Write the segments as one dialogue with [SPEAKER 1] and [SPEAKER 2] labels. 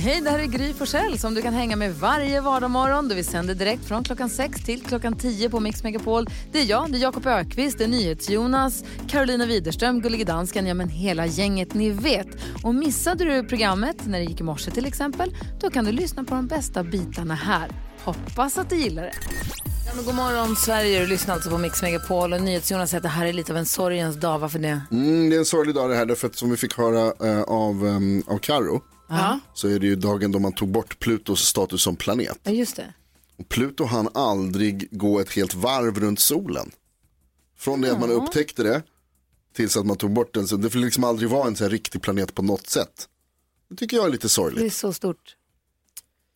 [SPEAKER 1] Hej, det här är Gry Forssell som du kan hänga med varje vardagsmorgon. Vi sänder direkt från klockan 6 till klockan 10 på Mix Megapol. Det är jag, det är Jakob Ökvist, det är NyhetsJonas, Carolina Widerström, Gullige Dansken, ja men hela gänget ni vet. Och missade du programmet när det gick i morse till exempel, då kan du lyssna på de bästa bitarna här. Hoppas att du gillar det. Ja, men god morgon Sverige, du lyssnar alltså på Mix Megapol och NyhetsJonas säger att det här är lite av en sorgens dag, varför det?
[SPEAKER 2] Mm, det är en sorglig dag det här, därför att som vi fick höra eh, av, ehm, av Karo så är det ju dagen då man tog bort Plutos status som planet.
[SPEAKER 1] Ja, just det.
[SPEAKER 2] Och Pluto hann aldrig gå ett helt varv runt solen. Från det att man upptäckte det tills att man tog bort den, så det får liksom aldrig vara en så här riktig planet på något sätt. Det tycker jag är lite
[SPEAKER 1] Det är
[SPEAKER 2] sorgligt.
[SPEAKER 1] så stort.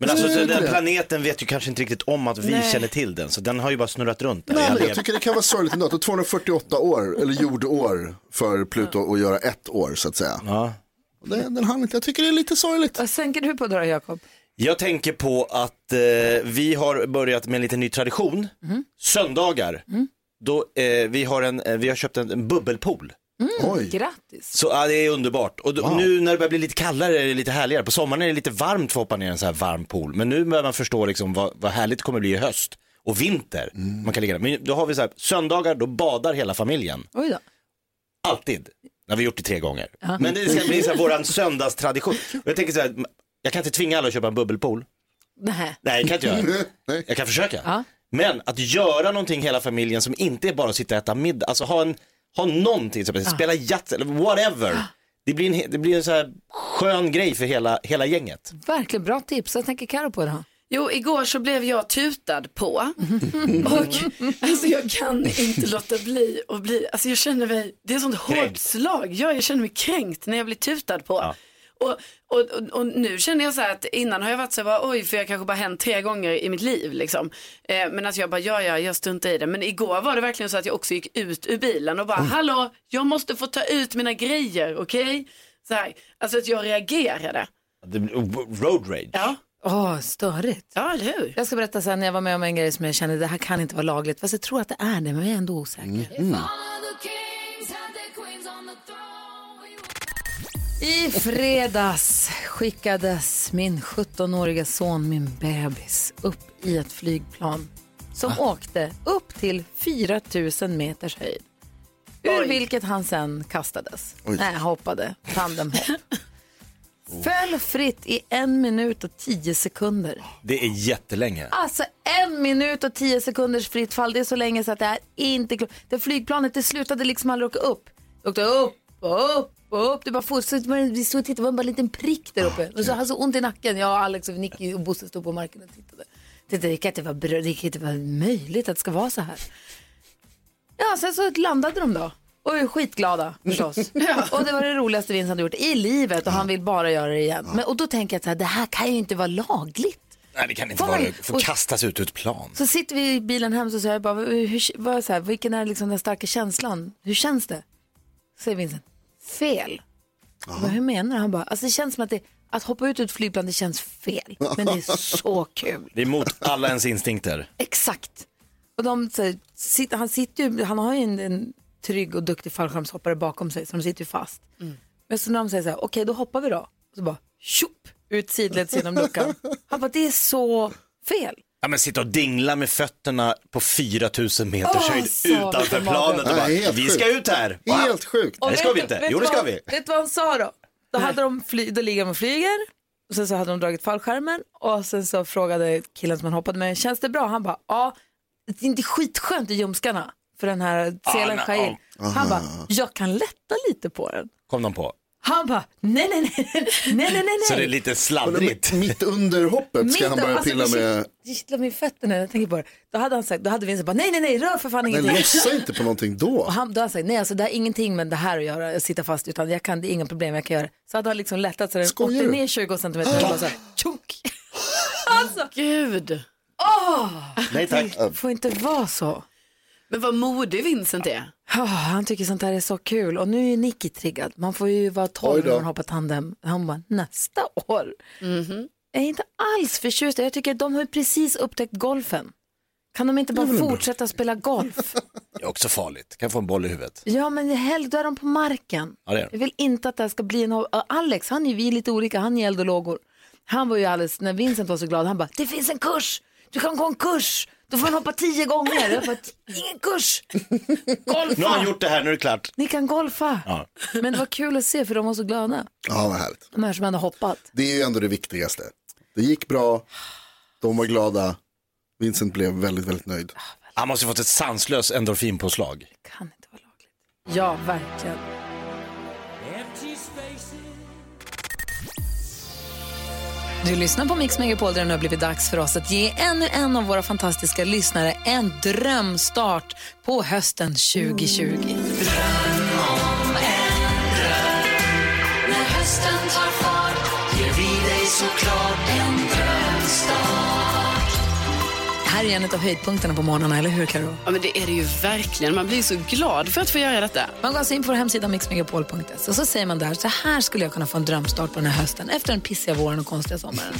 [SPEAKER 3] Men alltså
[SPEAKER 2] Nej,
[SPEAKER 3] den
[SPEAKER 2] det är
[SPEAKER 3] där
[SPEAKER 2] det.
[SPEAKER 3] planeten vet ju kanske inte riktigt om att vi känner till den, så den har ju bara snurrat runt. där i
[SPEAKER 2] Nej,
[SPEAKER 3] all
[SPEAKER 2] men jag
[SPEAKER 3] evighet.
[SPEAKER 2] tycker det kan vara sorgligt ändå. att det är 248 år, eller jordår, för Pluto att göra ett år så att säga.
[SPEAKER 3] ja.
[SPEAKER 2] Och Det, den hann inte, jag tycker det är lite sorgligt.
[SPEAKER 1] Vad tänker du på då, då, Jakob?
[SPEAKER 3] Jag tänker på att eh, vi har börjat med en liten ny tradition.
[SPEAKER 2] Mhm.
[SPEAKER 3] Söndagar, då, eh, vi, har en, eh, vi har köpt en, en bubbelpool.
[SPEAKER 2] Oj,
[SPEAKER 1] Grattis.
[SPEAKER 3] Så ja, det är underbart. Och då, nu när det börjar bli lite kallare är det lite härligare. På sommaren är det lite varmt för att hoppa ner i en så här varm pool. Men nu börjar man förstå liksom vad, vad härligt det kommer bli i höst och vinter.
[SPEAKER 2] Mm.
[SPEAKER 3] Man kan ligga där. Men då har vi så här, söndagar då badar hela familjen.
[SPEAKER 1] Oj då.
[SPEAKER 3] Alltid. Ja, vi har gjort det tre gånger. Men det ska bli så här våran söndagstradition. Och jag tänker så här, jag kan inte tvinga alla att köpa en bubbelpool.
[SPEAKER 1] Nej.
[SPEAKER 3] Nej, jag kan inte göra det.
[SPEAKER 2] Nej.
[SPEAKER 3] Jag kan försöka. Men att göra någonting hela familjen som inte är bara att sitta och äta middag, alltså ha, en, ha någonting, som, spela jazz eller whatever. Det blir en, he- det blir en så här skön grej för hela, hela gänget.
[SPEAKER 1] Verkligen bra tips. Vad tänker Karo på då?
[SPEAKER 4] Jo, igår så blev jag tutad på. Och alltså, jag kan inte låta bli att bli, alltså jag känner mig, det är ett sånt hårt
[SPEAKER 3] Kränkt.
[SPEAKER 4] slag. Ja, jag känner mig kränkt när jag blir tutad på. Och, och, och, och nu känner jag så här att innan har jag varit så här, bara, oj, för jag kanske bara hänt tre gånger i mitt liv liksom. Eh, men alltså jag bara, ja, ja, jag struntar i det. Men igår var det verkligen så att jag också gick ut ur bilen och bara, hallå, jag måste få ta ut mina grejer, okej? Så här, alltså att jag reagerade.
[SPEAKER 3] Det blir- Road rage.
[SPEAKER 4] Ja,
[SPEAKER 1] Åh, störigt.
[SPEAKER 4] ja eller hur?
[SPEAKER 1] Jag ska berätta sen när jag var med om en grej som jag kände, det här kan inte vara lagligt. Fast jag tror att det är det, men jag är ändå osäker. I fredags skickades min 17-åriga son, min bebis, upp i ett flygplan som åkte upp till 4000 meters höjd. Ur vilket han sen kastades. Nej, hoppade. Tandemhopp. Föll fritt i en minut och tio sekunder.
[SPEAKER 3] Det är jättelänge.
[SPEAKER 1] Alltså en minut och tio sekunders fritt fall. Det är så länge så att det är inte klokt. Det flygplanet det slutade liksom aldrig åka upp. Det åkte upp och upp och upp. Det bara fortsatte. Vi stod och tittade. Det var bara en liten prick där uppe. Och så hade så ont i nacken. Jag, Alex och Nicky och Bosse stod på marken och tittade. Tittade, Det kan inte vara, bra- det kan inte vara möjligt att det ska vara så här. Ja, sen så landade de då. Och är skitglada förstås. Och det var det roligaste Vince hade gjort i livet och han vill bara göra det igen. Men, och då tänker jag att så här, det här kan ju inte vara lagligt.
[SPEAKER 3] Nej, det kan inte
[SPEAKER 1] Fan,
[SPEAKER 3] vara
[SPEAKER 1] vad-
[SPEAKER 3] det. Få
[SPEAKER 1] och-
[SPEAKER 3] kastas ut ur ett plan.
[SPEAKER 1] Så sitter vi i bilen hem så säger jag bara, hur, vad, så här, vilken är liksom den starka känslan? Hur känns det? Så säger Vincent, fel. Jag Bara, hur menar du? Han bara, alltså det känns som att, det, att hoppa ut ur ett flygplan, det känns fel. Men det är så kul.
[SPEAKER 3] Det är emot alla ens instinkter.
[SPEAKER 1] Exakt. Och de, så här, sit, han, sitter ju, han har ju en, en trygg och duktig fallskärmshoppare bakom sig så de sitter ju fast. Men så när de säger så här, okej då hoppar vi då. Och så bara, tjopp, ut sidleds genom luckan. Han bara, det är så fel.
[SPEAKER 3] Ja, men sitta och dingla med fötterna på 4000 meters
[SPEAKER 1] Åh,
[SPEAKER 3] höjd
[SPEAKER 1] så
[SPEAKER 3] utanför
[SPEAKER 1] gammalt.
[SPEAKER 3] planet och
[SPEAKER 2] Nej,
[SPEAKER 3] bara,
[SPEAKER 2] helt
[SPEAKER 3] vi
[SPEAKER 2] sjukt.
[SPEAKER 3] ska ut här. Wow.
[SPEAKER 2] helt sjukt.
[SPEAKER 1] Och
[SPEAKER 3] Det ska
[SPEAKER 1] vet
[SPEAKER 3] vi
[SPEAKER 1] du-
[SPEAKER 3] inte.
[SPEAKER 1] vet
[SPEAKER 3] Jo,
[SPEAKER 1] du
[SPEAKER 3] det ska
[SPEAKER 1] vad-
[SPEAKER 3] vi.
[SPEAKER 1] Vet du vad han sa då? Då, hade de fly, då ligger de och flyger. Och sen så hade de dragit fallskärmen och sen så frågade killen som han hoppade med, känns det bra? Han bara, ja, det är inte skitskönt i ljumskarna för den här selen
[SPEAKER 3] Ah, nej, Ah.
[SPEAKER 1] Shail. Han bara, jag kan lätta lite på den.
[SPEAKER 3] Kom de på.
[SPEAKER 1] Han bara, nej, nej, nej, nej, nej, nej,
[SPEAKER 3] Så det är
[SPEAKER 1] nej. alltså,
[SPEAKER 3] lite
[SPEAKER 2] Men
[SPEAKER 3] sladdrigt.
[SPEAKER 2] mitt- Mitt under hoppet ska han börja pilla med.
[SPEAKER 1] Det kittlar mig i fötterna när jag tänker på det. Då hade han sagt, då hade Vincent bara, nej, nej, nej, rör för fan
[SPEAKER 2] Nej,
[SPEAKER 1] ingenting.
[SPEAKER 2] lossa inte på någonting då.
[SPEAKER 1] Och han, då har han sagt, nej alltså det har ingenting med det här att göra, att sitta fast, utan jag kan, det är inga problem, jag kan göra det. Så hade han liksom lättat så den
[SPEAKER 2] Skojar
[SPEAKER 1] åkte
[SPEAKER 2] du?
[SPEAKER 1] ner 20 centimeter och bara så här, tjunk.
[SPEAKER 4] Gud.
[SPEAKER 3] Nej tack.
[SPEAKER 1] får inte vara så.
[SPEAKER 4] Men vad modig Vincent är.
[SPEAKER 1] Ja, han tycker sånt här är så kul. Och nu är Nicky triggad. Man får ju vara 12
[SPEAKER 2] Oj då.
[SPEAKER 1] när man hoppar tandem. Han bara, nästa år. Jag är inte alls förtjust. Jag tycker att de har ju precis upptäckt golfen. Kan de inte bara fortsätta spela golf?
[SPEAKER 3] Det är också farligt. Kan få en boll i huvudet.
[SPEAKER 1] ja, men hellre då är de på marken.
[SPEAKER 3] Ja, det är de.
[SPEAKER 1] Jag vill inte att det här ska bli en... och Alex, han är ju vi är lite olika. Han är eld och lågor. Han var ju alldeles, när Vincent var så glad, han bara, det finns en kurs! Du kan gå en kurs! Då får man hoppa tio gånger. Jag bara, ingen kurs!
[SPEAKER 3] Nu har han gjort det här, nu är det klart.
[SPEAKER 1] Ni kan golfa.
[SPEAKER 3] Ja.
[SPEAKER 1] Men det var kul att se för de var så glada.
[SPEAKER 2] Ja, vad härligt.
[SPEAKER 1] De här som hade hoppat.
[SPEAKER 2] Det är ju ändå det viktigaste. Det gick bra, de var glada, Vincent blev väldigt, väldigt nöjd.
[SPEAKER 3] Han måste ju fått ett sanslöst endorfinpåslag.
[SPEAKER 1] Kan inte vara lagligt. Ja, verkligen. Du lyssnar på Mix Megapol där det nu har blivit dags för oss att ge ännu en av våra fantastiska lyssnare en drömstart på hösten 2020. Det här är en av höjdpunkterna på morgnarna, eller hur Karo?
[SPEAKER 4] Ja men det är det ju verkligen. Man blir så glad för att få göra detta.
[SPEAKER 1] Man går alltså in på vår hemsida mixmegapol.se och så säger man där, så här skulle jag kunna få en drömstart på den här hösten efter den pissiga våren och konstiga sommaren.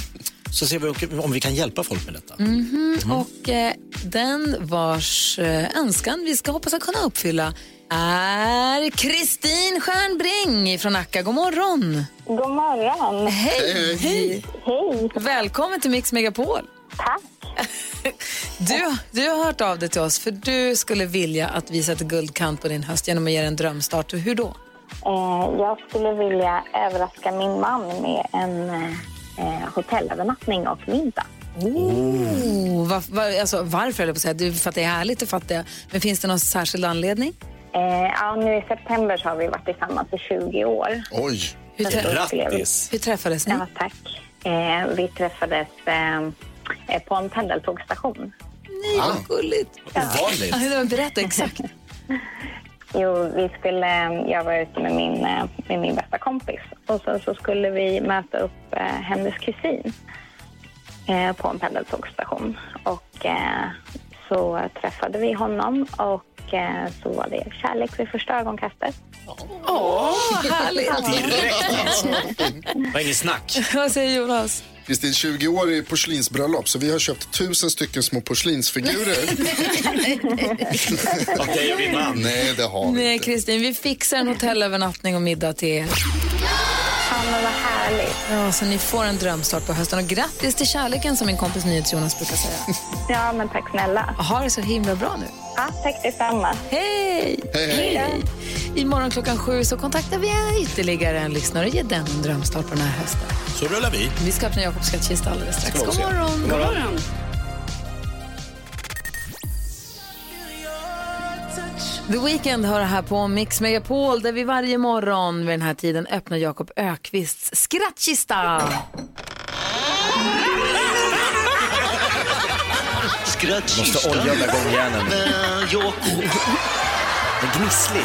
[SPEAKER 3] Så ser vi om vi kan hjälpa folk med detta.
[SPEAKER 1] Mm. Och eh, den vars eh, önskan vi ska hoppas att kunna uppfylla är Kristin Stjernbring från Nacka. God morgon!
[SPEAKER 5] God morgon.
[SPEAKER 1] Hej! Hej!
[SPEAKER 5] Hej.
[SPEAKER 1] Välkommen till Mix Megapol!
[SPEAKER 5] Tack.
[SPEAKER 1] Du, du har hört av dig till oss för du skulle vilja att vi sätter guldkant på din höst genom att ge dig en drömstart. Hur då?
[SPEAKER 5] Eh, jag skulle vilja överraska min man med en eh, eh, hotellövernattning och middag.
[SPEAKER 1] Oh, var, var, alltså, varför, höll jag på att säga. Du, för att det är härligt, det fattar jag. Men finns det någon särskild anledning?
[SPEAKER 5] Eh, ja, nu i september så har vi varit tillsammans i 20 år.
[SPEAKER 2] Oj,
[SPEAKER 1] Hur, trä-
[SPEAKER 3] Grattis!
[SPEAKER 1] hur träffades ni?
[SPEAKER 5] Ja, tack. Eh, vi träffades eh, eh, på en pendeltågsstation.
[SPEAKER 1] Nej, vad gulligt.
[SPEAKER 3] Ovanligt.
[SPEAKER 1] Ja, men berätta exakt.
[SPEAKER 5] Jo, vi skulle, jag var ute med min, eh, med min bästa kompis och sen så skulle vi möta upp eh, hennes kusin eh, på en pendeltågsstation. Och eh, så träffade vi honom och eh, så var det kärlek vid första ögonkastet.
[SPEAKER 1] Vad härligt.
[SPEAKER 3] Direkt alltså. Det var inget snack.
[SPEAKER 1] Vad säger Jonas?
[SPEAKER 2] Kristin, 20 år i porslinsbröllop så vi har köpt tusen stycken små porslinsfigurer.
[SPEAKER 3] Av dig och din man.
[SPEAKER 2] Nej, det har vi
[SPEAKER 1] Nej,
[SPEAKER 2] inte.
[SPEAKER 1] Kristin, vi fixar en hotellövernattning och middag till er.
[SPEAKER 5] Ja, men vad härligt.
[SPEAKER 1] Ja, så ni får en drömstart på hösten. Och grattis till kärleken som min kompis NyhetsJonas brukar säga.
[SPEAKER 5] Ja, men tack snälla.
[SPEAKER 1] Ha det så himla bra nu.
[SPEAKER 5] Ja, tack detsamma.
[SPEAKER 1] Hej!
[SPEAKER 2] Hej, hej.
[SPEAKER 1] Imorgon klockan sju så kontaktar vi ytterligare en lyssnare och ger den en drömstart på den här hösten.
[SPEAKER 3] Så rullar vi.
[SPEAKER 1] Vi ska öppna Jakobs skattkista alldeles strax.
[SPEAKER 3] Ska vi
[SPEAKER 1] God
[SPEAKER 3] också göra.
[SPEAKER 1] morgon!
[SPEAKER 4] God morgon.
[SPEAKER 1] The Weeknd hör här på Mix Megapol där vi varje morgon vid den här tiden öppnar Jakob Ökvists skrattkista.
[SPEAKER 3] Måste olja den där gångjärnen.
[SPEAKER 2] Eh,
[SPEAKER 3] Men gnisslig.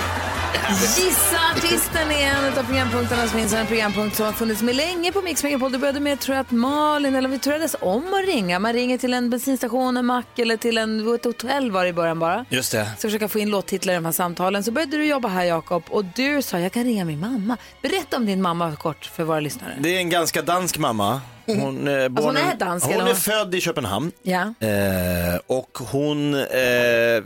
[SPEAKER 1] Gissa artisten är en av programpunkterna som finns här. En programpunkt som har funnits med länge på Mix Megapol. Det började med tror jag, att Malin, eller vi turades om att ringa. Man ringer till en bensinstation, en mack eller till en, ett hotell var det i början bara.
[SPEAKER 3] Just det.
[SPEAKER 1] Ska försöka få in låttitlar i de här samtalen. Så började du jobba här Jakob och du sa jag kan ringa min mamma. Berätta om din mamma kort för våra lyssnare.
[SPEAKER 3] Det är en ganska dansk mamma. Hon, eh, born
[SPEAKER 1] Alltså, hon är
[SPEAKER 3] i-
[SPEAKER 1] dansk,
[SPEAKER 3] Hon
[SPEAKER 1] eller
[SPEAKER 3] är
[SPEAKER 1] vad?
[SPEAKER 3] född i Köpenhamn.
[SPEAKER 1] Ja.
[SPEAKER 3] Eh, och hon eh,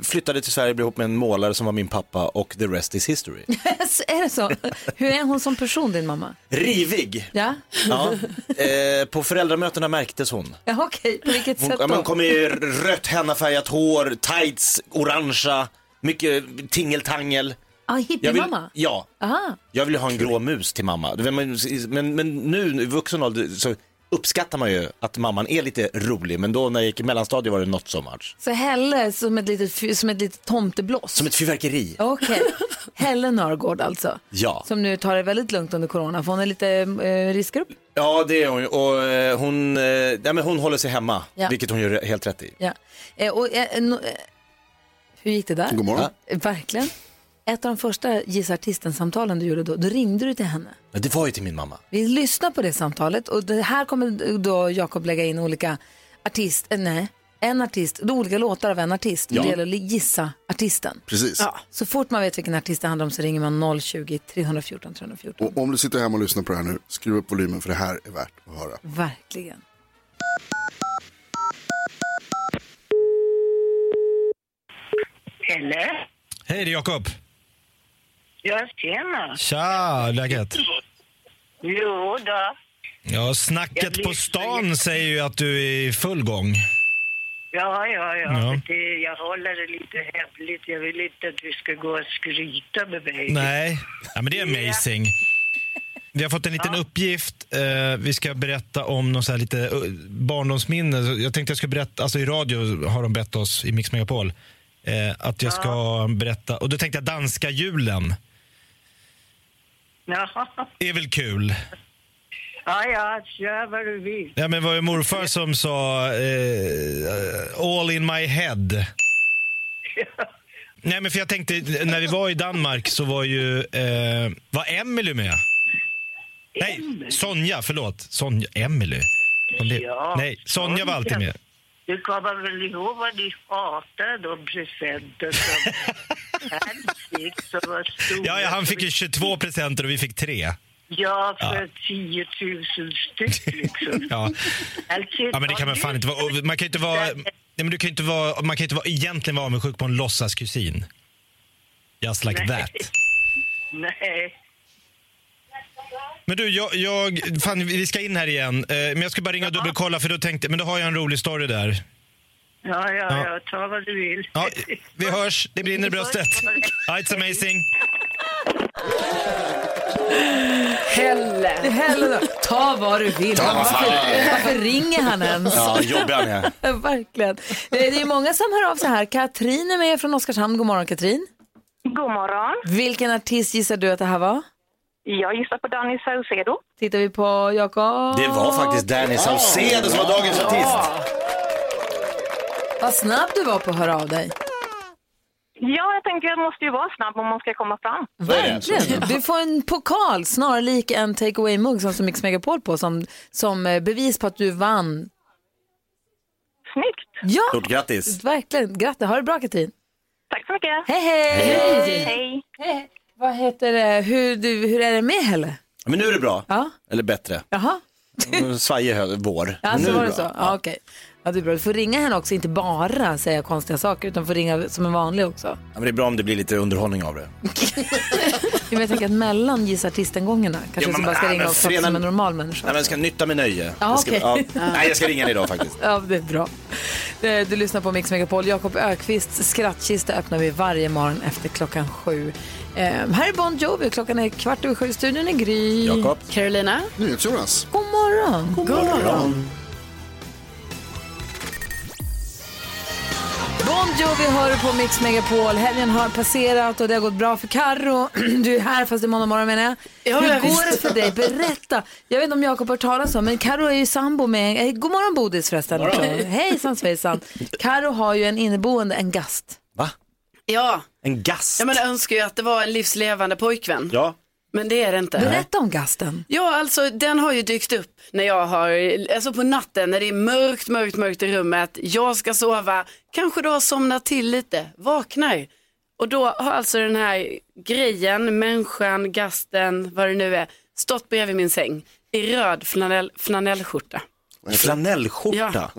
[SPEAKER 3] flyttade till Sverige och blev ihop med en målare som var min pappa och the rest is history.
[SPEAKER 1] Alltså, är det så? Hur är hon som person din mamma?
[SPEAKER 3] Rivig.
[SPEAKER 1] Ja,
[SPEAKER 3] Ja. Eh, på föräldramötena märktes hon.
[SPEAKER 1] ja okej. På vilket
[SPEAKER 3] Hon,
[SPEAKER 1] sätt
[SPEAKER 3] ja,
[SPEAKER 1] då?
[SPEAKER 3] men hon kom i rött hennafärgat hår, tights, orangea, mycket tingeltangel.
[SPEAKER 1] Ja,
[SPEAKER 3] Jag vill,
[SPEAKER 1] hippiemamma?
[SPEAKER 3] ja,
[SPEAKER 1] Aha.
[SPEAKER 3] jag vill ju ha en grå mus till mamma. Du vet, Men, men, men nu i vuxen ålder så uppskattar man ju att mamman är lite rolig. Men då när jag gick i mellanstadiet var det not so much.
[SPEAKER 1] Så Helle som ett litet, fy- som ett litet tomteblås?
[SPEAKER 3] Som ett fyrverkeri.
[SPEAKER 1] Okej. Helle Nörgård alltså.
[SPEAKER 3] Ja.
[SPEAKER 1] Som nu tar det väldigt lugnt under corona för hon är lite eh, riskgrupp.
[SPEAKER 3] Ja, det är hon ju. Och eh, hon, eh, nej, men hon håller sig hemma,
[SPEAKER 1] Ja.
[SPEAKER 3] vilket hon gör helt rätt i.
[SPEAKER 1] Ja. Eh, och, eh, no, eh, hur gick det där?
[SPEAKER 2] God morgon.
[SPEAKER 1] Eh, Verkligen. Ett av de första Gissa artisten-samtalen du gjorde då, då ringde du till henne.
[SPEAKER 3] Men det var ju till min mamma.
[SPEAKER 1] Vi lyssnar på det samtalet och det här kommer då Jakob lägga in olika artist, eh, nej, en artist, det är olika låtar av en artist. Det gäller att gissa artisten.
[SPEAKER 2] Precis.
[SPEAKER 1] Så fort man vet vilken artist det handlar om så ringer man 020-314 314.
[SPEAKER 2] Och om du sitter hemma och lyssnar på det här nu, skruva upp volymen för det här är värt att höra.
[SPEAKER 1] Verkligen.
[SPEAKER 6] Eller?
[SPEAKER 7] Hej, det är Jakob.
[SPEAKER 6] Ja, tjena.
[SPEAKER 7] Tja, läget?
[SPEAKER 6] Jo då.
[SPEAKER 7] Ja,
[SPEAKER 6] Jag
[SPEAKER 7] snacket
[SPEAKER 6] blir
[SPEAKER 7] på stan säger ju att du är i full gång.
[SPEAKER 6] Ja, ja, ja.
[SPEAKER 7] Ja.
[SPEAKER 6] Men Det, jag håller det lite hemligt. Jag vill inte att du ska gå och skryta med mig.
[SPEAKER 7] Nej, ja, men det är amazing. Vi har fått en liten uppgift. Eh, vi ska berätta om någon så här lite uh, barndomsminne. Så Jag tänkte jag ska berätta, alltså i radio har de bett oss i Mix Megapol eh, att jag ska berätta, och då tänkte jag danska julen.
[SPEAKER 6] Ja,
[SPEAKER 7] Det är väl kul?
[SPEAKER 6] ja, ja kör vad du vill.
[SPEAKER 7] Ja, men det var ju morfar som sa eh, all in my head. Nej, men för jag tänkte, när vi var i Danmark så var ju, eh, var Emily med? Nej, Sonja, förlåt. Sonja, Emily. Om det-
[SPEAKER 6] Ja,
[SPEAKER 7] Nej, Sonja var alltid med.
[SPEAKER 6] Du kommer väl ihåg vad ni hatade de presenter som han fick som var stora?
[SPEAKER 7] Ja, ja, han fick ju 22 presenter och vi fick tre.
[SPEAKER 6] Ja, för 10 000 styck liksom.
[SPEAKER 7] Ja,
[SPEAKER 6] Alltså,
[SPEAKER 7] ja men det kan man fan inte vara. och Man kan ju inte vara, nej, men du kan ju inte vara, man kan ju inte vara egentligen vara avundsjuk på en låtsaskusin. Just like
[SPEAKER 6] Nej.
[SPEAKER 7] that.
[SPEAKER 6] Nej.
[SPEAKER 7] Men du, jag, jag, fan, vi ska in här igen. Eh, men jag ska bara ringa och dubbelkolla för då tänkte, men då har jag en rolig story där.
[SPEAKER 6] Ja, ja,
[SPEAKER 7] Ja.
[SPEAKER 6] ja, ta vad du vill.
[SPEAKER 7] Ja, vi hörs, det brinner i bröstet. Ja, it's amazing.
[SPEAKER 1] Helle! Helle då. Ta vad du vill.
[SPEAKER 3] Ta vad
[SPEAKER 1] varför,
[SPEAKER 3] fan.
[SPEAKER 1] varför ringer han ens?
[SPEAKER 3] Ja, jobbig han är.
[SPEAKER 1] Verkligen. Det det är många som hör av sig här. Katrin är med från Oskarshamn. God morgon Katrin.
[SPEAKER 5] God morgon.
[SPEAKER 1] Vilken artist gissar du att det här var?
[SPEAKER 5] Jag gissar på Danny Saucedo.
[SPEAKER 1] Tittar vi på Jakob.
[SPEAKER 3] Det var faktiskt Danny
[SPEAKER 2] Ah!
[SPEAKER 3] Saucedo som var dagens artist.
[SPEAKER 1] Vad snabb du var på att höra av dig.
[SPEAKER 5] Ja, jag tänker jag måste ju vara snabb om man ska komma fram.
[SPEAKER 1] Verkligen. Du får en pokal snarlik en takeaway mugg som står Mix Megapol på som, som eh, bevis på att du vann.
[SPEAKER 5] Snyggt!
[SPEAKER 1] Ja,
[SPEAKER 3] Stort grattis.
[SPEAKER 1] verkligen. Grattis. Ha det bra Katrin.
[SPEAKER 5] Tack så mycket.
[SPEAKER 1] Hej hej.
[SPEAKER 5] Hej.
[SPEAKER 1] hej. Vad heter det? Hur, du, hur är det med Helle?
[SPEAKER 3] Men nu är det bra.
[SPEAKER 1] Ja.
[SPEAKER 3] Eller bättre.
[SPEAKER 1] Jaha.
[SPEAKER 2] Mm.
[SPEAKER 3] Svajig hö- vår.
[SPEAKER 1] Ja,
[SPEAKER 3] nu
[SPEAKER 1] så
[SPEAKER 3] är
[SPEAKER 1] var det
[SPEAKER 3] bra.
[SPEAKER 1] så. Ja, okej. Ja, det är bra. Du får ringa henne också, inte bara säga konstiga saker, utan får ringa som en vanlig också.
[SPEAKER 3] Ja, men det är bra om det blir lite underhållning av det.
[SPEAKER 1] Men jag tänker att mellan gissa artistengångarna kanske
[SPEAKER 3] men-
[SPEAKER 1] jag bara ska
[SPEAKER 3] ja,
[SPEAKER 1] ringa
[SPEAKER 3] men
[SPEAKER 1] och prata
[SPEAKER 3] fredag-
[SPEAKER 1] som en normal människa.
[SPEAKER 3] Nej, men jag ska nytta med nöje.
[SPEAKER 1] Ja,
[SPEAKER 3] jag ska,
[SPEAKER 1] okej.
[SPEAKER 3] Nej, jag ska ringa idag faktiskt.
[SPEAKER 1] Ja, det är bra. Eh, Du lyssnar på Mix Megapol. Jakob Ökvists skrattkista öppnar vi varje morgon efter klockan sju. Eh, här är Bon Jovi. Klockan är kvart över sju. Studion är Gry.
[SPEAKER 3] Jakob.
[SPEAKER 4] Carolina?
[SPEAKER 2] NyhetsJonas.
[SPEAKER 1] God morgon. God morgon. Bon Jovi hör du på Mix Megapol. Helgen har passerat och det har gått bra för Karro. Du är här fast det är måndag morgon menar jag.
[SPEAKER 4] Ja,
[SPEAKER 1] Hur
[SPEAKER 4] ja,
[SPEAKER 1] går
[SPEAKER 4] visst.
[SPEAKER 1] det för dig? Berätta. Jag vet inte om Jakob har hört talas om men Karro är ju sambo med... Eh, god morgon Bodis förresten. Hejsan svejsan. Karro har ju en inneboende, en gast.
[SPEAKER 3] Va?
[SPEAKER 4] Ja,
[SPEAKER 3] En gast?
[SPEAKER 4] jag menar, önskar ju att det var en livslevande pojkvän.
[SPEAKER 3] Ja.
[SPEAKER 4] Men det är det inte.
[SPEAKER 1] Berätta om gasten.
[SPEAKER 4] Ja, alltså den har ju dykt upp när jag har, alltså på natten när det är mörkt, mörkt, mörkt i rummet. Jag ska sova, kanske då har somnat till lite, vaknar. Och då har alltså den här grejen, människan, gasten, vad det nu är, stått bredvid min säng i röd flanell, flanellskjorta.
[SPEAKER 3] Flanellskjorta.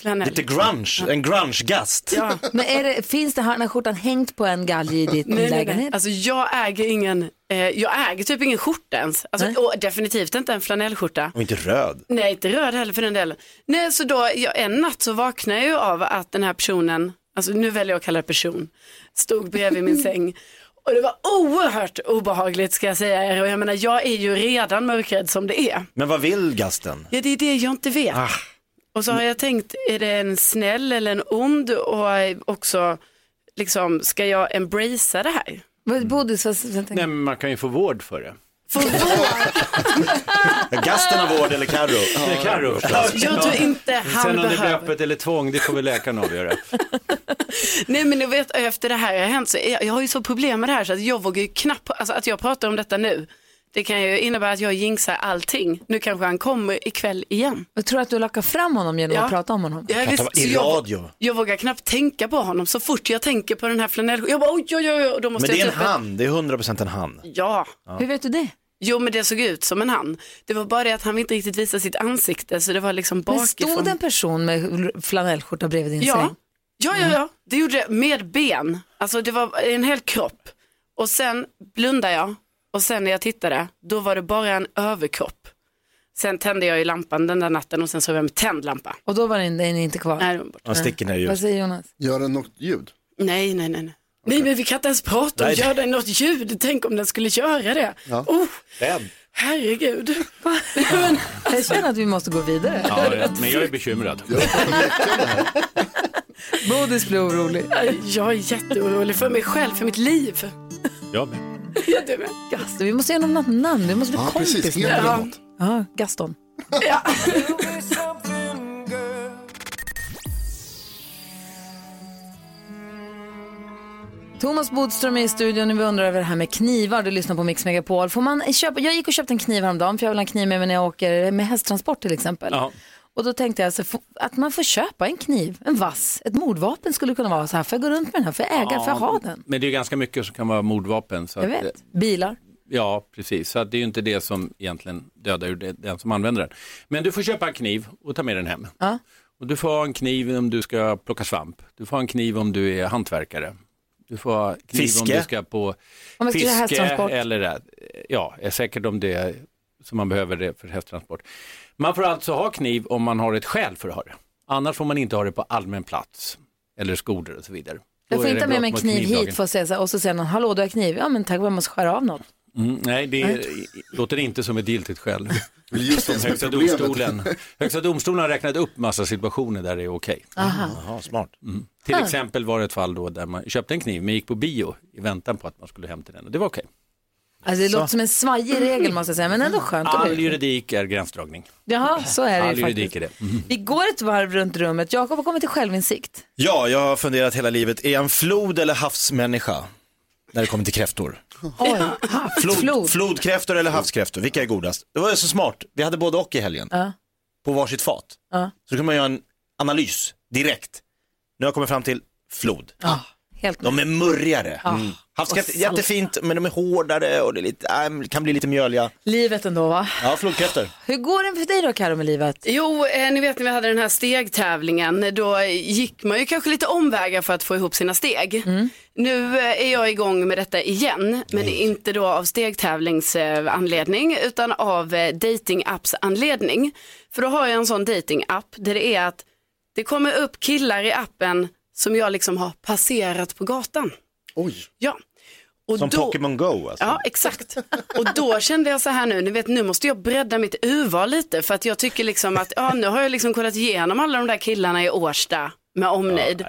[SPEAKER 4] Flanell.
[SPEAKER 3] Lite grunge. En grunge-gast.
[SPEAKER 4] Ja.
[SPEAKER 1] Men är det, finns det här, den här skjortan hängt på en galge i ditt
[SPEAKER 4] Nej, nej,
[SPEAKER 1] lägenhet?
[SPEAKER 4] nej. Alltså jag äger ingen, eh, jag äger typ ingen skjorta ens.
[SPEAKER 1] Nej.
[SPEAKER 4] Alltså, och definitivt inte en flanellskjorta.
[SPEAKER 3] Och inte röd.
[SPEAKER 4] Nej, inte röd heller för den delen. Nej, så då, ja, en natt så vaknade jag ju av att den här personen, alltså nu väljer jag att kalla det person, stod bredvid min säng. Och det var oerhört obehagligt ska jag säga er. Och jag menar, jag är ju redan mörkrädd som det är.
[SPEAKER 3] Men vad vill gasten?
[SPEAKER 4] Ja, det är det jag inte vet.
[SPEAKER 3] Ah.
[SPEAKER 4] Och så har jag tänkt, är det en snäll eller en ond? Och eh, också, liksom, ska jag embracea det här?
[SPEAKER 1] Vad- Bodis, vad, vad tänker du?
[SPEAKER 8] men Mm, man kan ju få vård för det.
[SPEAKER 3] Gasten har vård eller Carro?
[SPEAKER 8] Det kan du förstås.
[SPEAKER 4] Jag tror inte han
[SPEAKER 8] Sen om det blir
[SPEAKER 4] behöver.
[SPEAKER 8] öppet eller tvång, det får väl läkaren avgöra.
[SPEAKER 4] Nej men du vet efter det här har hänt så jag, jag har ju så problem med det här så att jag vågar ju knappt, alltså att jag pratar om detta nu. Det kan ju innebära att jag jinxar allting. Nu kanske han kommer ikväll igen.
[SPEAKER 1] Jag tror att du lackar fram honom genom
[SPEAKER 4] Ja.
[SPEAKER 1] att prata om honom.
[SPEAKER 4] Ja, visst. Så jag- Jag vågar knappt tänka på honom så fort jag tänker på den här flanell. Jag bara oj, oj, oj, oj, då
[SPEAKER 3] Men
[SPEAKER 4] måste
[SPEAKER 3] det är
[SPEAKER 4] jag
[SPEAKER 3] en
[SPEAKER 4] ta upp ett-
[SPEAKER 3] han, det är 100% en han.
[SPEAKER 4] Ja.
[SPEAKER 3] Ja. Hur vet
[SPEAKER 1] du det?
[SPEAKER 4] Jo, men det såg ut som en han. Det var bara det att han inte riktigt visade sitt ansikte, så det var liksom
[SPEAKER 1] Men
[SPEAKER 4] bakifrån.
[SPEAKER 1] stod det en person med flanellskjorta bredvid din
[SPEAKER 4] Ja.
[SPEAKER 1] säng?
[SPEAKER 4] Ja,
[SPEAKER 2] Mm.
[SPEAKER 4] ja, ja. Det gjorde det med ben. Alltså det var en hel kropp. Och sen blundade jag och sen när jag tittade, då var det bara en överkropp. Sen tände jag ju lampan den där natten och sen sov jag med tänd lampa.
[SPEAKER 1] Och då var den, den inte kvar?
[SPEAKER 4] Nej, den var borta.
[SPEAKER 2] Alltså.
[SPEAKER 3] Han sticker ner
[SPEAKER 1] Vad
[SPEAKER 3] ljus.
[SPEAKER 1] säger Jonas?
[SPEAKER 2] Gör den något ljud?
[SPEAKER 4] Nej, nej, nej. nej. Nej, men vi kan inte ens prata om
[SPEAKER 2] Nej.
[SPEAKER 4] gör den något ljud. Tänk om den skulle göra det.
[SPEAKER 2] Ja.
[SPEAKER 4] Oh,
[SPEAKER 8] Den.
[SPEAKER 4] herregud.
[SPEAKER 1] Jag känner att vi måste gå vidare.
[SPEAKER 8] Ja, ja, men jag är bekymrad.
[SPEAKER 1] Bodis blir orolig.
[SPEAKER 4] Jag är jätteorolig för mig själv, för mitt liv.
[SPEAKER 8] Jag med.
[SPEAKER 4] Ja, du med.
[SPEAKER 1] Gaston, vi måste ge honom något namn. Vi måste bli
[SPEAKER 8] Ja,
[SPEAKER 1] kompis
[SPEAKER 8] precis.
[SPEAKER 1] nu.
[SPEAKER 8] Ge honom
[SPEAKER 1] Ja.
[SPEAKER 8] något.
[SPEAKER 1] Ja, Gaston.
[SPEAKER 4] Ja.
[SPEAKER 1] Thomas Bodström är i studion och vi undrar över det här med knivar. Du lyssnar på Mix Megapol. Får man köpa? Jag gick och köpte en kniv häromdagen för jag vill ha en kniv med mig när jag åker med hästtransport till exempel.
[SPEAKER 8] Ja.
[SPEAKER 1] Och då tänkte jag så, få- att man får köpa en kniv, en vass, ett mordvapen skulle kunna vara så här. Får jag gå runt med den här? Får jag äga? Får jag ha den?
[SPEAKER 8] Men det är ju ganska mycket som kan vara mordvapen. Så
[SPEAKER 1] Jag
[SPEAKER 8] att,
[SPEAKER 1] vet. Bilar.
[SPEAKER 8] Ja, precis. Så att det är ju inte det som egentligen dödar ju det- den som använder den. Men du får köpa en kniv och ta med den hem.
[SPEAKER 1] Ja.
[SPEAKER 8] Och du får ha en kniv om du ska plocka svamp. Du får ha en kniv om du är hantverkare. Du får ha kniv om
[SPEAKER 3] Fiske.
[SPEAKER 8] du ska på
[SPEAKER 1] Om man ska göra
[SPEAKER 8] fiske
[SPEAKER 1] hästtransport.
[SPEAKER 8] eller det. Ja, är säkert om det är- som man behöver det för hästtransport. Man får alltså ha kniv om man har ett skäl för att ha det. Annars får man inte ha det på allmän plats eller skolor och så vidare. Då
[SPEAKER 1] Jag får
[SPEAKER 8] är det
[SPEAKER 1] inte ha med
[SPEAKER 8] brott
[SPEAKER 1] mig en
[SPEAKER 8] mot
[SPEAKER 1] kniv
[SPEAKER 8] knivlagen.
[SPEAKER 1] hit för att säga så här, och så säger någon, hallå du har kniv. Ja men tack, jag måste skära av något.
[SPEAKER 8] Mm, nej, det är, låter inte som ett giltigt skäl.
[SPEAKER 2] Just det som är
[SPEAKER 8] högsta,
[SPEAKER 2] problemet.
[SPEAKER 8] domstolen, högsta domstolen har räknat upp massa situationer där det är okej.
[SPEAKER 1] Aha.
[SPEAKER 8] smart. Mm. Till
[SPEAKER 1] Ah.
[SPEAKER 8] exempel var det ett fall då där man köpte en kniv men gick på bio i väntan på att man skulle hem till den och det var okej.
[SPEAKER 1] Alltså det
[SPEAKER 8] Så.
[SPEAKER 1] låter som en svajig regel måste jag säga, men ändå skönt. att
[SPEAKER 8] All
[SPEAKER 1] veta.
[SPEAKER 8] juridik är gränsdragning.
[SPEAKER 1] Jaha, så är det
[SPEAKER 8] All
[SPEAKER 1] ju faktiskt.
[SPEAKER 8] juridik är det. Mm.
[SPEAKER 1] Vi går ett varv runt rummet. Jakob har kommit till självinsikt.
[SPEAKER 3] Ja, jag har funderat hela livet, är jag en flod eller havsmänniska? När det kommer till kräftor.
[SPEAKER 1] Oj,
[SPEAKER 3] Flod, Flodkräftor eller havskräftor, vilka är godast? Det var ju så smart, vi hade både och i helgen.
[SPEAKER 1] Ja.
[SPEAKER 3] På varsitt fat.
[SPEAKER 1] ja,
[SPEAKER 3] Så kan man göra en analys direkt. Nu har jag kommit fram till flod.
[SPEAKER 1] helt
[SPEAKER 3] De är murrigare.
[SPEAKER 1] Ah.
[SPEAKER 3] Mm. Havskräftor,
[SPEAKER 1] Och salt.
[SPEAKER 3] jättefint, men de är hårdare och det är lite, äh, kan bli lite mjöliga.
[SPEAKER 1] Livet ändå va?
[SPEAKER 3] Ja, flodkräftor.
[SPEAKER 1] Hur går det för dig då Karo med livet?
[SPEAKER 4] Jo, eh, ni vet när vi hade den här stegtävlingen, då gick man ju kanske lite omvägar för att få ihop sina steg.
[SPEAKER 3] Mm.
[SPEAKER 4] Nu eh, är jag igång med detta igen, men inte då av stegtävlingsanledning utan av eh, datingapps-anledning. För då har jag en sån datingapp där det är att det kommer upp killar i appen som jag liksom har passerat på gatan.
[SPEAKER 2] Oj.
[SPEAKER 4] Ja. Och
[SPEAKER 3] Som
[SPEAKER 4] då-
[SPEAKER 3] Pokémon Go alltså.
[SPEAKER 4] Ja, exakt. Och då kände jag så här nu, ni vet nu måste jag bredda mitt urval lite för att jag tycker liksom att ja, nu har jag liksom kollat igenom alla de där killarna i Årsta med omnejd.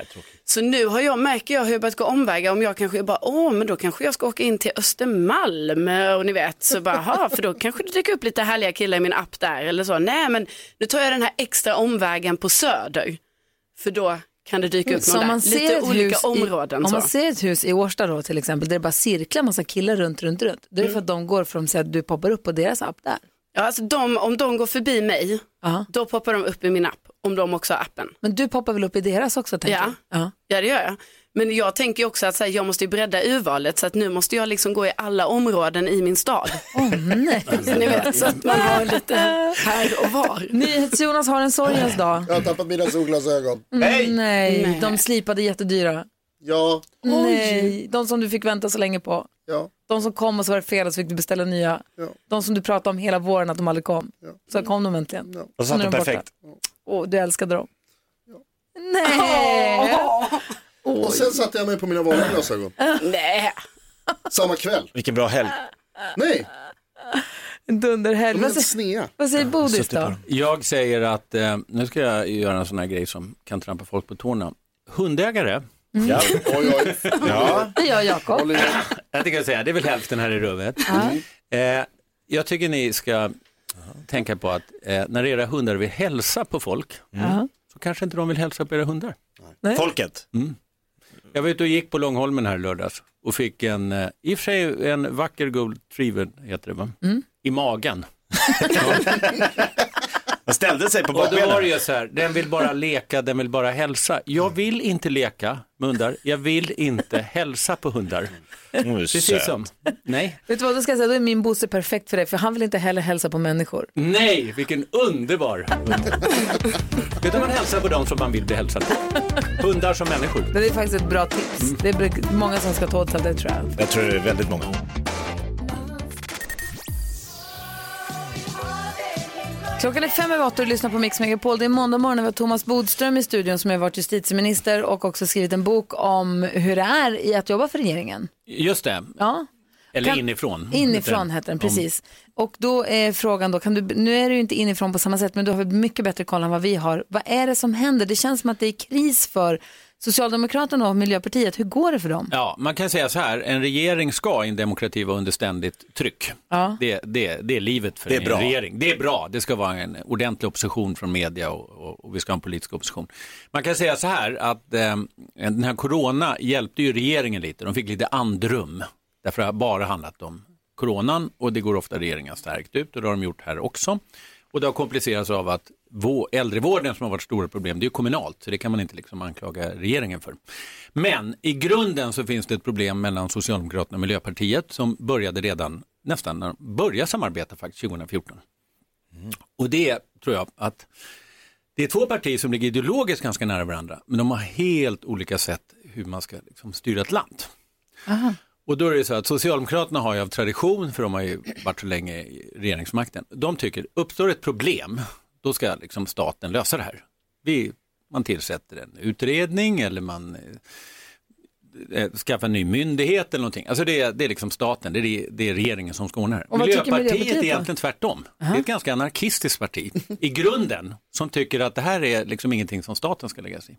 [SPEAKER 4] så nu har jag, märker jag hur jag börjat gå omvägar om jag kanske bara, åh men då kanske jag ska åka in till Östermalm och ni vet så bara, "Jaha, för då kanske det dyker upp lite härliga killar i min app där eller så. Nej men nu tar jag den här extra omvägen på Söder för då kan det dyka upp
[SPEAKER 1] Mm, Så
[SPEAKER 4] någon
[SPEAKER 1] om man
[SPEAKER 4] där.
[SPEAKER 1] ser
[SPEAKER 4] Lite
[SPEAKER 1] ett
[SPEAKER 4] olika
[SPEAKER 1] hus
[SPEAKER 4] områden.
[SPEAKER 1] I, om
[SPEAKER 4] så.
[SPEAKER 1] man ser ett hus i Årsta då till exempel där det bara cirklar massa killar runt, runt, runt. Då är det
[SPEAKER 4] Mm.
[SPEAKER 1] för att de går för att de ser att du poppar upp på deras app där.
[SPEAKER 4] Ja, alltså de, om de går förbi mig, då poppar de upp i min app, om de också har appen.
[SPEAKER 1] Men du poppar väl upp i deras också tänker
[SPEAKER 4] Ja.
[SPEAKER 1] jag? Ja.
[SPEAKER 4] Ja, det gör jag. Men jag tänker ju också att så här, jag måste ju bredda urvalet, så att nu måste jag liksom gå i alla områden i min stad.
[SPEAKER 1] Åh nej.
[SPEAKER 4] Ni vet, så att man har lite här och var.
[SPEAKER 1] NyhetsJonas har en sorgens dag.
[SPEAKER 2] Jag har tappat mina solglasögon.
[SPEAKER 1] Mm, nej. de slipade jättedyra.
[SPEAKER 2] Ja.
[SPEAKER 1] Nej, de som du fick vänta så länge på.
[SPEAKER 2] Ja.
[SPEAKER 1] De som kom och så var det fel och så fick du beställa nya.
[SPEAKER 2] Ja.
[SPEAKER 1] De som du pratade om hela våren att de aldrig kom. Så kom de äntligen.
[SPEAKER 3] Och satt
[SPEAKER 1] nu är
[SPEAKER 3] det perfekt.
[SPEAKER 1] Borta. Och du älskade dem. Nej!
[SPEAKER 2] Och sen satte jag mig på mina vanliga glasögon.
[SPEAKER 4] Nej.
[SPEAKER 2] Samma kväll.
[SPEAKER 3] Vilken bra helg.
[SPEAKER 2] Nej.
[SPEAKER 1] En dunderhelg.
[SPEAKER 2] De är helt snea.
[SPEAKER 1] Vad säger Bodis då?
[SPEAKER 8] Jag säger att, eh, nu ska jag göra en sån här grej som kan trampa folk på tårna. Hundägare.
[SPEAKER 1] Mm.
[SPEAKER 3] Ja.
[SPEAKER 2] Oj, oj.
[SPEAKER 8] ja.
[SPEAKER 1] Det gör
[SPEAKER 2] Mm.
[SPEAKER 1] Jakob.
[SPEAKER 8] Jag tänker säga, det är väl hälften här i rummet. Eh, jag tycker ni ska tänka på att eh, när era hundar vill hälsa på folk
[SPEAKER 1] Ja.
[SPEAKER 8] så kanske inte de vill hälsa på era hundar.
[SPEAKER 1] Nej.
[SPEAKER 3] Folket.
[SPEAKER 8] Mm. Jag var ute och gick på Långholmen här i lördags och fick en, eh, i och för sig en vacker gold retriever heter det va?
[SPEAKER 1] Mm.
[SPEAKER 8] I magen.
[SPEAKER 3] Den ställde sig på
[SPEAKER 8] Och då var det
[SPEAKER 3] bakbenen.
[SPEAKER 8] ju så här, den vill bara leka, den vill bara hälsa. Jag vill inte leka med hundar, jag vill inte hälsa på hundar.
[SPEAKER 3] Mm,
[SPEAKER 8] Precis
[SPEAKER 3] söt.
[SPEAKER 8] som, nej,
[SPEAKER 1] Vet du vad, då ska jag säga, då är min Bosse perfekt för dig, för han vill inte heller hälsa på människor.
[SPEAKER 8] nej, vilken underbar Utan man hälsar på dem som man vill bli hälsad på. Hundar som människor.
[SPEAKER 1] Det är faktiskt ett bra tips. Det är br- många som ska ta åt sig av det tror jag.
[SPEAKER 3] Jag tror det är väldigt många.
[SPEAKER 1] Klockan är fem över åtta och du lyssnar på Mix Megapol. Det är måndag morgon och vi har Thomas Bodström i studion som har varit justitieminister och också skrivit en bok om hur det är i att jobba för regeringen.
[SPEAKER 8] Just det,
[SPEAKER 1] Ja.
[SPEAKER 8] eller
[SPEAKER 1] Kan-
[SPEAKER 8] inifrån.
[SPEAKER 1] Inifrån heter den, precis. Och då är frågan då, kan du, nu är det ju inte inifrån på samma sätt, men du har väl mycket bättre koll än vad vi har. Vad är det som händer? Det känns som att det är kris för Socialdemokraterna och Miljöpartiet. Hur går det för dem?
[SPEAKER 8] Ja, man kan säga så här, en regering ska i en demokrati vara under ständigt tryck.
[SPEAKER 1] Ja.
[SPEAKER 8] Det, det, det är livet för
[SPEAKER 3] Det är
[SPEAKER 8] en
[SPEAKER 3] bra.
[SPEAKER 8] regering. Det är bra, det ska vara en ordentlig opposition från media och, och, och vi ska ha en politisk opposition. Man kan säga så här att eh, den här corona hjälpte ju regeringen lite, de fick lite andrum. Därför har det bara handlat om coronan och det går ofta regeringen stärkt ut och det har de gjort här också. Och det har komplicerats av att vå- äldrevården som har varit stora problem, det är ju kommunalt, så det kan man inte liksom anklaga regeringen för. Men i grunden så finns det ett problem mellan Socialdemokraterna och Miljöpartiet som började redan nästan när de började samarbeta faktiskt 2014. Och det tror jag att det är två partier som ligger ideologiskt ganska nära varandra, men de har helt olika sätt hur man ska liksom styra ett land. Och då är det så att Socialdemokraterna har ju av tradition, för de har ju varit så länge i regeringsmakten, de tycker uppstår ett problem, då ska liksom staten lösa det här. Vi, man tillsätter en utredning eller man eh, eh, skaffar en ny myndighet eller någonting. Alltså det, är- det är liksom staten, det är, det är regeringen som ska ordna det här.
[SPEAKER 1] Och vad tycker Miljöpartiet
[SPEAKER 8] är
[SPEAKER 1] då?
[SPEAKER 8] egentligen tvärtom. Det är ett ganska anarkistiskt parti i grunden som tycker att det här är liksom ingenting som staten ska lägga sig i.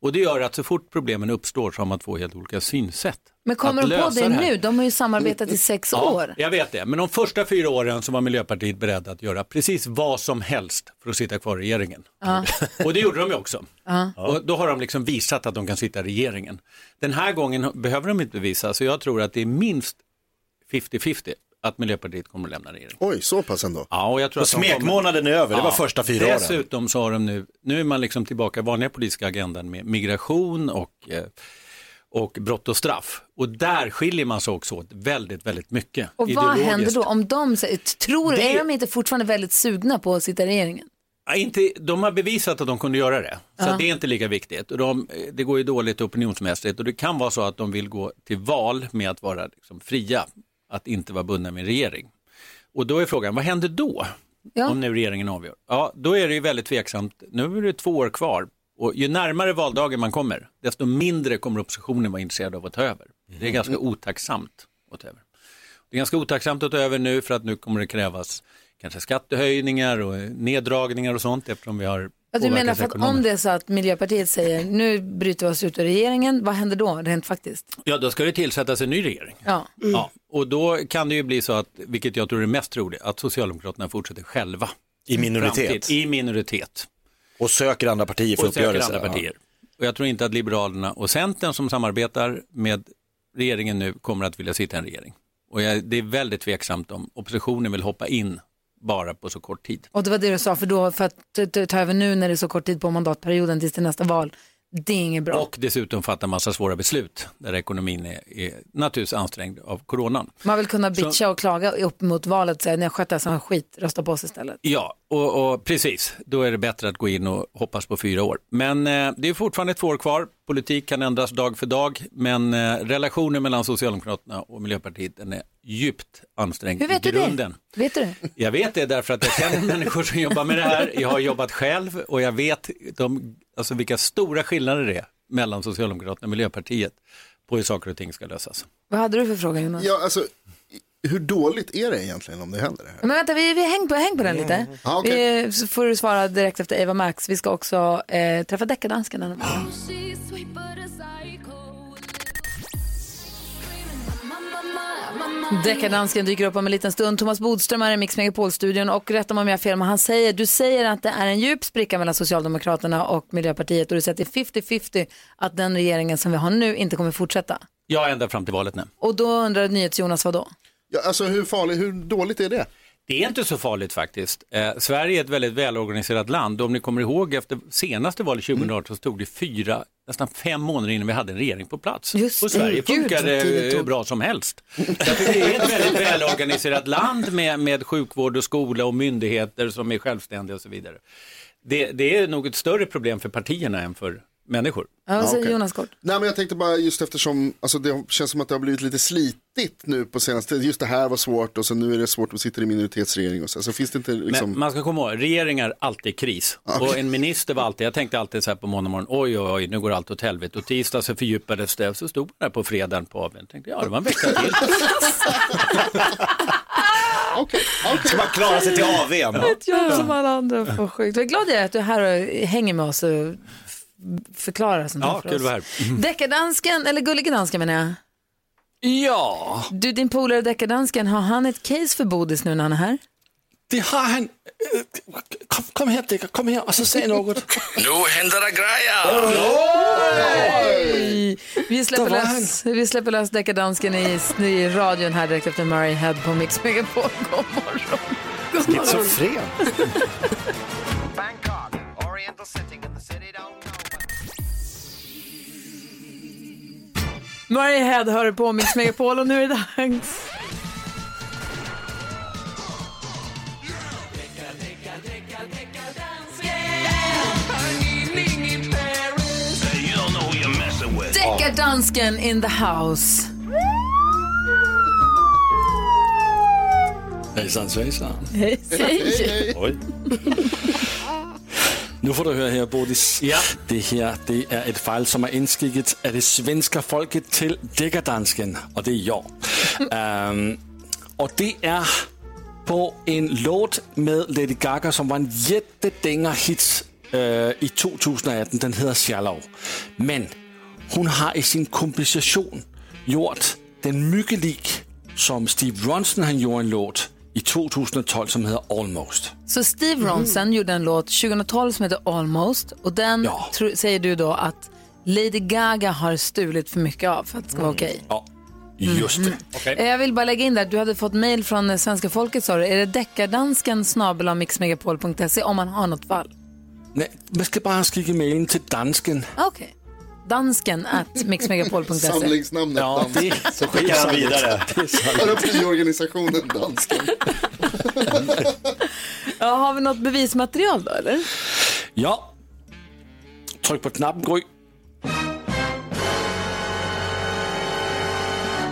[SPEAKER 8] Och det gör att så fort problemen uppstår så har man två helt olika synsätt.
[SPEAKER 1] Men kommer
[SPEAKER 8] Att
[SPEAKER 1] de på
[SPEAKER 8] lösa
[SPEAKER 1] det
[SPEAKER 8] här-
[SPEAKER 1] nu? De har ju samarbetat i sex år.
[SPEAKER 8] jag vet det. Men de första fyra åren så var Miljöpartiet beredda att göra precis vad som helst för att sitta kvar i regeringen. Och det gjorde de ju också. Och då har de liksom visat att de kan sitta i regeringen. Den här gången behöver de inte visa, så jag tror att det är minst 50-50 att Miljöpartiet kommer att lämna regeringen.
[SPEAKER 2] Oj, så pass ändå.
[SPEAKER 8] Ja, och jag tror
[SPEAKER 3] Och
[SPEAKER 8] att de kommer-
[SPEAKER 3] smekmånaden är över, det var
[SPEAKER 8] Ja.
[SPEAKER 3] första fyra åren.
[SPEAKER 8] Dessutom så har de nu, nu är man liksom tillbaka i vanliga politiska agendan med migration och, eh, och brott och straff. Och där skiljer man sig också åt väldigt, väldigt mycket.
[SPEAKER 1] Och vad
[SPEAKER 8] ideologiskt.
[SPEAKER 1] händer då om de säger- tror,
[SPEAKER 8] Det-
[SPEAKER 1] är de inte fortfarande väldigt sugna på att sitta i regeringen?
[SPEAKER 8] Ja, Inte, de har bevisat att de kunde göra det, så att det är inte lika viktigt. Och de, eh, det går ju dåligt opinionsmässigt och det kan vara så att de vill gå till val med att vara liksom, fria, att inte vara bundna med en regering. Och då är frågan, vad händer då?
[SPEAKER 1] Ja.
[SPEAKER 8] Om nu regeringen avgör. Ja, då är det ju väldigt tveksamt. Nu är det två år kvar och ju närmare valdagen man kommer, desto mindre kommer oppositionen vara intresserad av att ta över. Det är ganska otacksamt att ta över. Det är ganska otacksamt att ta över nu för att nu kommer det krävas kanske skattehöjningar och neddragningar och sånt eftersom vi har
[SPEAKER 1] Att Alltså, du menar
[SPEAKER 8] påverkats
[SPEAKER 1] för att om
[SPEAKER 8] ekonomiskt.
[SPEAKER 1] det är så att Miljöpartiet säger nu bryter vi oss ut ur regeringen, vad händer då rent faktiskt?
[SPEAKER 8] Ja, då ska det tillsättas en ny regering.
[SPEAKER 1] Ja.
[SPEAKER 8] Ja, och då kan det ju bli så att, vilket jag tror är mest troligt, att Socialdemokraterna fortsätter själva.
[SPEAKER 3] I minoritet.
[SPEAKER 8] Framtid, I minoritet.
[SPEAKER 3] Och söker andra partier för
[SPEAKER 8] och söker
[SPEAKER 3] uppgörelser.
[SPEAKER 8] andra partier. Och jag tror inte att Liberalerna och Centern som samarbetar med regeringen nu kommer att vilja sitta i en regering. Och jag, det är väldigt tveksamt om oppositionen vill hoppa in bara på så kort tid.
[SPEAKER 1] Och det var det du sa, för, då, för att ta- ta- ta över nu när det är så kort tid på mandatperioden tills till nästa val, det är inget bra.
[SPEAKER 8] Och dessutom fatta massa svåra beslut där ekonomin är, är naturligtvis ansträngd av coronan.
[SPEAKER 1] Man vill kunna bitcha och klaga upp mot valet och säga när jag skött det här som skit, rösta på oss istället.
[SPEAKER 8] Ja, och, och precis. Då är det bättre att gå in och hoppas på fyra år. Men eh, det är fortfarande två år kvar. Politik kan ändras dag för dag. Men eh, relationen mellan Socialdemokraterna och Miljöpartiet den är djupt ansträngd
[SPEAKER 1] Hur vet
[SPEAKER 8] i
[SPEAKER 1] du
[SPEAKER 8] grunden.
[SPEAKER 1] det? Vet du det?
[SPEAKER 8] Jag vet det därför att jag känner människor som jobbar med det här. Jag har jobbat själv och jag vet de, alltså vilka stora skillnader det är mellan Socialdemokraterna och Miljöpartiet på hur saker och ting ska lösas.
[SPEAKER 1] Vad hade du för fråga Jonas?
[SPEAKER 2] Ja, alltså, i- hur dåligt är det egentligen om det händer det här?
[SPEAKER 1] Men vänta, vi, vi häng, på, häng på den lite.
[SPEAKER 2] Ja, okej.
[SPEAKER 1] Vi, så får du svara direkt efter Eva Max. Vi ska också eh, träffa deckardansken. den här morgonen. Deckardansken dyker upp om en liten stund. Thomas Bodström är i Mix Megapol-studion och rätta mig om jag har fel, men han säger, du säger att det är en djup spricka mellan Socialdemokraterna och Miljöpartiet och du säger att det är 50-50 att den regeringen som vi har nu inte kommer fortsätta.
[SPEAKER 8] Ja, ända fram till valet nu.
[SPEAKER 1] Och då undrar NyhetsJonas vad då?
[SPEAKER 8] Ja, alltså hur farligt, hur dåligt är det? Det är inte så farligt faktiskt. Eh, Sverige är ett väldigt välorganiserat land och om ni kommer ihåg efter senaste valet
[SPEAKER 3] Mm.
[SPEAKER 8] 2018 så tog det fyra, nästan fem månader innan vi hade en regering på plats. och Sverige
[SPEAKER 3] Gud,
[SPEAKER 8] funkade
[SPEAKER 3] vad tidigt
[SPEAKER 8] hur
[SPEAKER 3] och-
[SPEAKER 8] bra som helst. Därför det är ett väldigt välorganiserat land med, med sjukvård och skola och myndigheter som är självständiga och så vidare. Det, det är nog ett större problem för partierna än för människor.
[SPEAKER 1] Ja, vad säger
[SPEAKER 2] okej.
[SPEAKER 1] Jonas Kort?
[SPEAKER 2] Nej men jag tänkte bara just eftersom, alltså det känns som att det har blivit lite slitigt nu på senaste, just det här var svårt och sen nu är det svårt, vi sitter i minoritetsregering och så, så finns det inte liksom,
[SPEAKER 8] Men man ska komma ihåg, regeringar är alltid kris. Och en minister var alltid, jag tänkte alltid så här på måndag morgon, oj oj oj, nu går allt åt helvete. Och tisdag så fördjupades det, så stod man där på fredagen på AWn, tänkte ja det var en vecka till.
[SPEAKER 3] Ska man klara sig till AWn?
[SPEAKER 1] Ett jobb som alla andra får sjukt. Vad glad jag är att du är här och hänger med oss och f- förklarar sånt här
[SPEAKER 8] Ja,
[SPEAKER 1] för
[SPEAKER 8] kul
[SPEAKER 1] oss.
[SPEAKER 8] att vara här. Mm.
[SPEAKER 1] Deckardansken, eller gullige dansken menar jag.
[SPEAKER 9] Ja,
[SPEAKER 1] Du, din polare deckardansken, har han ett case för Bodis nu när han är här?
[SPEAKER 9] det har han. Kom, kom här Dicker, kom här och så säg något.
[SPEAKER 10] Nu händer det
[SPEAKER 1] Oj! Vi släpper
[SPEAKER 9] Där var
[SPEAKER 1] lös, vi släpper lös deckardansken i, i radion här direkt efter Murray Head på Mix Megapol. God morgon.
[SPEAKER 3] Schizofren.
[SPEAKER 1] Murray Head hör på Mix Megapol och nu är det dags. Deckardansken in the house.
[SPEAKER 9] Hejsan svejsan.
[SPEAKER 1] Hej.
[SPEAKER 9] Oj. Nu får du höra här Bodis. Ja. Det här det är ett fall som är inskickat av det svenska folket till deckardansken och det är jag. Ehm, och det är på en låt med Lady Gaga som var en jättedängerhit uh, i 2018. Den heter Shallow. Men hon har i sin kompensation gjort den mycket lik som Steve Ronson han gjorde en låt i 2012 som heter Almost.
[SPEAKER 1] Så
[SPEAKER 9] Mhm.
[SPEAKER 1] Steve Ronson gjorde en låt 2012 som heter Almost och den tro, säger du då att Lady Gaga har stulit för mycket av för att det ska vara okej.
[SPEAKER 9] Mm. Ja, just det.
[SPEAKER 8] Mm-hmm.
[SPEAKER 1] Eh, Jag vill bara lägga in där, du hade fått mejl från eh, svenska folket sa du. Är det deckardansken snabel mixmegapol.se om man har något fall?
[SPEAKER 9] Nej, man ska bara skicka mailen till dansken.
[SPEAKER 1] Ah, Okej. Dansken at mixmegapol.se.
[SPEAKER 2] samlingsnamnet ja,
[SPEAKER 9] det-
[SPEAKER 2] så
[SPEAKER 9] det är sant. Det är sant.
[SPEAKER 2] Hör upp friorganisationen Dansken.
[SPEAKER 1] Ja, har vi något bevismaterial då eller?
[SPEAKER 9] Ja. Tryck på knappen Gry.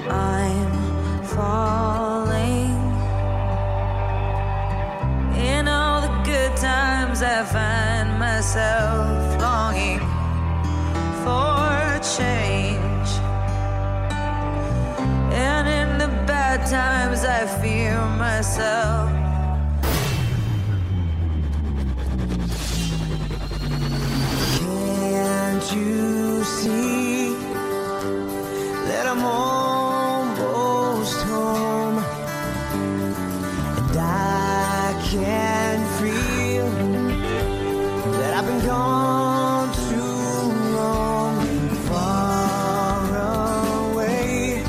[SPEAKER 11] I'm falling. In all the good times, I find myself longing for change. And in the bad times, I fear myself.
[SPEAKER 10] Can't you see that I'm almost home? And I can feel that I've been gone too long, far away.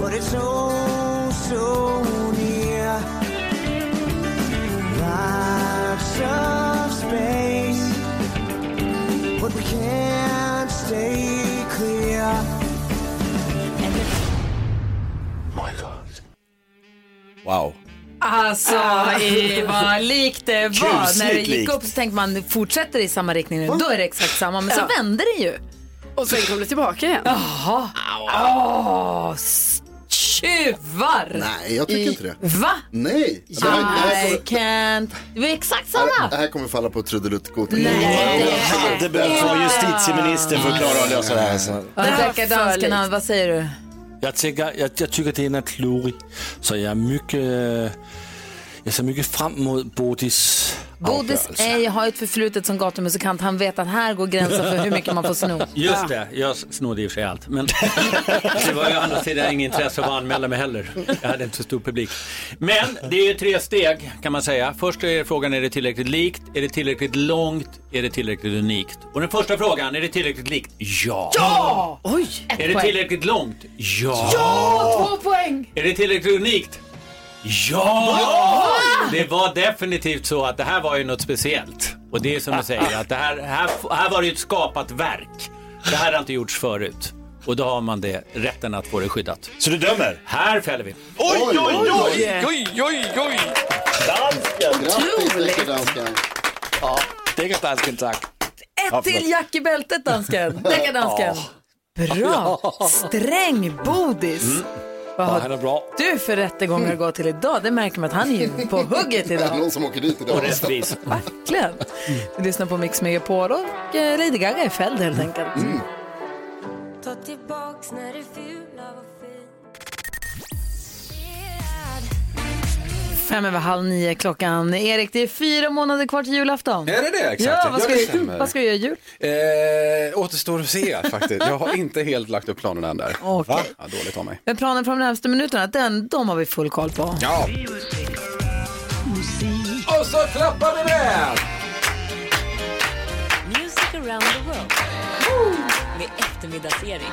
[SPEAKER 10] But it's so, so near. Lots of space but we can't stay clear. And if
[SPEAKER 8] Wow.
[SPEAKER 1] Alltså,
[SPEAKER 11] Ah.
[SPEAKER 1] i vad likt det var.
[SPEAKER 8] Kusligt
[SPEAKER 1] När det gick
[SPEAKER 8] likt.
[SPEAKER 1] upp så tänkte man, fortsätter det i samma riktning nu, då är det exakt samma. Men
[SPEAKER 4] Ja.
[SPEAKER 1] så vände det ju.
[SPEAKER 4] Och sen kom det tillbaka igen.
[SPEAKER 1] Jaha. Åh, s- tjuvar!
[SPEAKER 2] Nej, jag tycker
[SPEAKER 1] I-
[SPEAKER 2] inte det.
[SPEAKER 1] Va? Ah,
[SPEAKER 2] Nej, det här, det här
[SPEAKER 1] I
[SPEAKER 2] kommer,
[SPEAKER 1] can't... Det var exakt
[SPEAKER 2] det
[SPEAKER 1] samma.
[SPEAKER 2] här kommer falla på trudeluttkåtan.
[SPEAKER 3] Jag hade behövt få justitieministern för att klara av att lösa det här. Så.
[SPEAKER 1] Deckardanskarna, vad säger du?
[SPEAKER 9] Jag, tänker, jag, jag tycker det är något klurigt, så jag är mycket, jag ser mycket fram emot Bodis
[SPEAKER 1] Bodis ej har ett förflutet som gatumusikant. Han vet att här går gränsen för hur mycket man får sno.
[SPEAKER 8] Just det, jag snodde i och för sig allt. Men det var ju å andra sidan inget intresse av att anmäla mig heller. Jag hade inte så stor publik. Men det är ju tre steg kan man säga. Först är frågan, är det tillräckligt likt? Är det tillräckligt långt? Är det tillräckligt unikt? Och den första frågan, är det tillräckligt likt? Ja!
[SPEAKER 1] Ja! Oj! ett
[SPEAKER 8] Är det
[SPEAKER 1] poäng.
[SPEAKER 8] tillräckligt långt? Ja!
[SPEAKER 1] Ja, två poäng!
[SPEAKER 8] Är det tillräckligt unikt? Ja!
[SPEAKER 10] Ja!
[SPEAKER 8] Det var definitivt så att det här var ju något speciellt. Och det är som du säger, att det här, här, här var det ju ett skapat verk. Det här har inte gjorts förut. Och då har man det, rätten att få det skyddat.
[SPEAKER 3] Så du dömer?
[SPEAKER 8] Här fäller vi.
[SPEAKER 3] Oj, oj, oj,
[SPEAKER 10] oj,
[SPEAKER 3] oj, oj, oj. Dansken.
[SPEAKER 2] Otroligt.
[SPEAKER 9] Ja, deckardansken tack.
[SPEAKER 1] Ett till jack i bältet, dansken. Tänk dansken. Bra. Sträng Bodis. Vad
[SPEAKER 9] Mm. Ja,
[SPEAKER 1] har
[SPEAKER 9] han är bra.
[SPEAKER 1] du för rättegångar att gå till idag? Det märker man att han är ju på hugget idag.
[SPEAKER 2] Någon som åker dit idag.
[SPEAKER 8] Och rättvis.
[SPEAKER 1] Verkligen. Du lyssnar på Mix Megapol och eh, Lady Gaga är fälld helt enkelt.
[SPEAKER 10] Ta tillbaks när du fula var
[SPEAKER 1] Fem över halv nio klockan. Erik, det är fyra månader kvar till julafton.
[SPEAKER 12] Är det det? Exakt,
[SPEAKER 1] Ja,
[SPEAKER 12] ja,
[SPEAKER 1] vad ska,
[SPEAKER 12] det
[SPEAKER 1] du,
[SPEAKER 12] stämmer.
[SPEAKER 1] vad ska du göra i jul?
[SPEAKER 12] Eh, återstår att se faktiskt. Jag har inte helt lagt upp planen än där.
[SPEAKER 1] Okej.
[SPEAKER 12] Ja, dåligt av mig.
[SPEAKER 1] Men planen för de närmaste minuterna, den, de har vi full koll på.
[SPEAKER 12] Ja. Och så klappar vi med!
[SPEAKER 10] Music around the world. Med eftermiddagsering.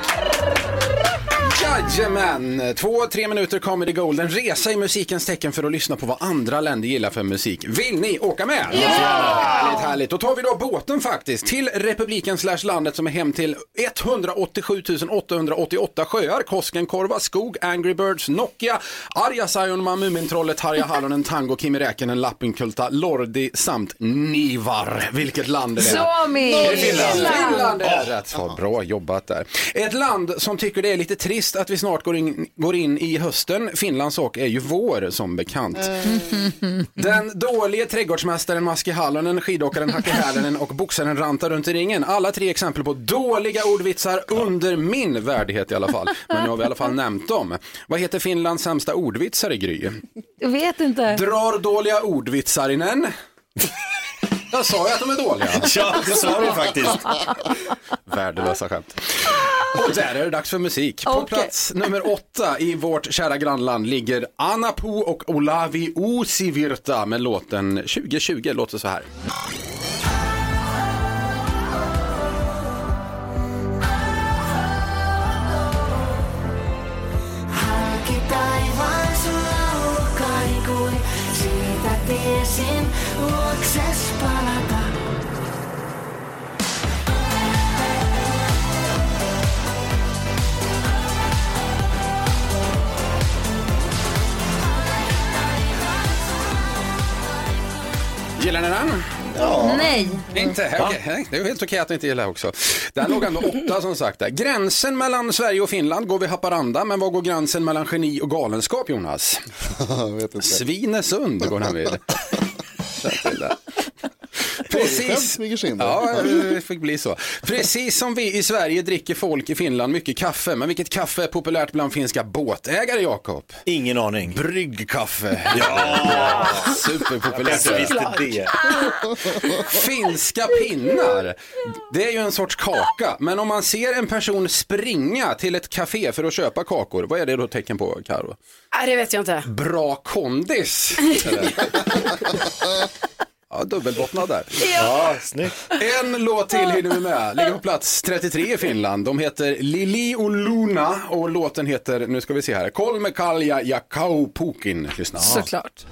[SPEAKER 12] Jajamän! Två, tre minuter kommer det Golden. Resa i musikens tecken för att lyssna på vad andra länder gillar för musik. Vill ni åka med? Ja! Härligt, härligt. Då tar vi då båten faktiskt till republiken slash landet som är hem till 187 888 sjöar, Koskenkorva, skog, Angry Birds, Nokia, Arja Saijonmaa, Mumintrollet, Harja Halonen, Tango, Kimi Räkänen, Lappinkulta, Lordi samt Nivar. Vilket land är det?
[SPEAKER 1] Suomi!
[SPEAKER 12] Det är Finland.
[SPEAKER 1] Finland.
[SPEAKER 12] Finland är rätt svar. Bra jobbat där. Ett land som tycker det är lite trist att vi snart går in, går in i hösten. Finlands sak är ju vår som bekant. Den dåliga trädgårdsmästaren Maski Hallonen, skidåkaren Hacke Hälenen och boxaren rantar runt i ringen. Alla tre exempel på dåliga ordvitsar under min värdighet i alla fall. Men nu har vi i alla fall nämnt dem. Vad heter Finlands sämsta ordvitsare Gry?
[SPEAKER 1] Jag vet inte.
[SPEAKER 12] Drar dåliga ordvitsarinen. Jag sa ju att de är dåliga.
[SPEAKER 3] Ja, det sa du faktiskt.
[SPEAKER 12] Värdelösa skämt. Och där är det dags för musik. På
[SPEAKER 10] Okej.
[SPEAKER 12] plats nummer åtta i vårt kära grannland ligger Anna Po och Olavi Usivirta med låten 2020. Låter så här.
[SPEAKER 10] Halki taivaan sua uhkain kuin siitä tiesin luokses palata.
[SPEAKER 12] Gillar ni den?
[SPEAKER 1] Ja. Nej.
[SPEAKER 12] Inte? Okej, nej, det är ju helt okej att ni inte gillar också. Där låg ändå åtta som sagt. Där. Gränsen mellan Sverige och Finland går vid Haparanda, men var går gränsen mellan geni och galenskap Jonas? Svinesund går den vid. Känn till det.
[SPEAKER 2] Skämt
[SPEAKER 12] Precis.
[SPEAKER 2] smyger sig in där.
[SPEAKER 12] Ja, det fick bli så. Precis som vi i Sverige dricker folk i Finland mycket kaffe. Men vilket kaffe är populärt bland finska båtägare, Jakob?
[SPEAKER 3] Ingen aning.
[SPEAKER 12] Bryggkaffe.
[SPEAKER 3] Ja.
[SPEAKER 12] Superpopulärt.
[SPEAKER 3] Jag visste det.
[SPEAKER 12] Finska pinnar, det är ju en sorts kaka. Men om man ser en person springa till ett café för att köpa kakor, vad är det då tecken på, Karo?
[SPEAKER 4] Nej, det vet jag inte.
[SPEAKER 12] Bra kondis. eller? Ja, dubbelbottnad där.
[SPEAKER 3] Ja, snyggt.
[SPEAKER 12] En låt till hinner vi med. Ligger på plats 33 i Finland. De heter Lili och Luna och låten heter, nu ska vi se här, Kolme Kalja Jakau Pukin. Lyssna.
[SPEAKER 1] Såklart.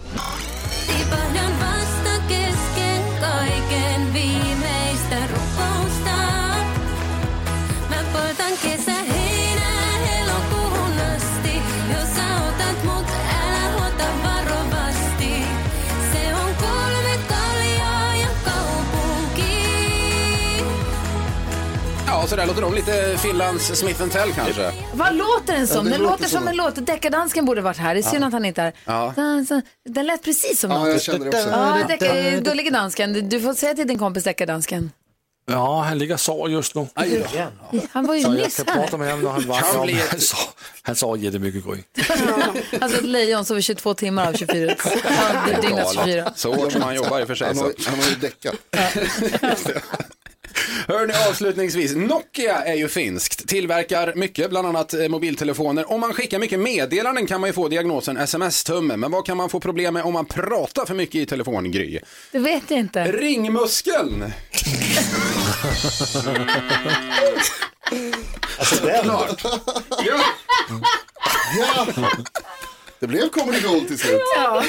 [SPEAKER 10] Tipahdan vasta kesken kaiken viimeistä rukousta. Mä poltan kesä heinää elokuuhun asti. Jos sä otat mut, älä huolta varovasti. Se on kolme kaljaa ja kaupunki.
[SPEAKER 12] Ja, så där låter de lite Finlands Smith Tell kanske.
[SPEAKER 1] Vad låter den som?
[SPEAKER 12] Ja, det
[SPEAKER 1] den
[SPEAKER 12] låter
[SPEAKER 1] låter som
[SPEAKER 12] som-
[SPEAKER 1] en låt. Deckardansken borde varit här. Det är synd
[SPEAKER 12] Ja.
[SPEAKER 1] att han inte är
[SPEAKER 12] Ja.
[SPEAKER 1] här. Den lät precis som
[SPEAKER 12] Ja,
[SPEAKER 1] något.
[SPEAKER 12] jag kände det också.
[SPEAKER 1] Ja, deckar- då ligger dansken. Du får säga till din kompis deckardansken.
[SPEAKER 9] Ja, han ligger och sover just nu.
[SPEAKER 1] Aj då. Han var ju
[SPEAKER 9] Så jag
[SPEAKER 1] nyss
[SPEAKER 9] kan
[SPEAKER 1] här.
[SPEAKER 9] prata med honom när han
[SPEAKER 12] Kan
[SPEAKER 9] vaknar.
[SPEAKER 12] bli ett-
[SPEAKER 9] Han sover- Han sover jättemycket Gry.
[SPEAKER 1] Alltså ett lejon sover 22 timmar av 24. Ja, det är dygnets 24.
[SPEAKER 12] Så hårt som han jobbar i och för sig.
[SPEAKER 2] Han har-
[SPEAKER 12] han har ju däckat. Hörni, avslutningsvis. Nokia är ju finskt. Tillverkar mycket, bland annat eh, mobiltelefoner. Om man skickar mycket meddelanden kan man ju få diagnosen sms-tumme. Men vad kan man få problem med om man pratar för mycket i telefon, Gry?
[SPEAKER 1] Det vet jag inte.
[SPEAKER 12] Ringmuskeln!
[SPEAKER 2] Alltså den. Klart.
[SPEAKER 12] Ja.
[SPEAKER 2] ja. Det blev Comedy Gold till slut.
[SPEAKER 1] Ja.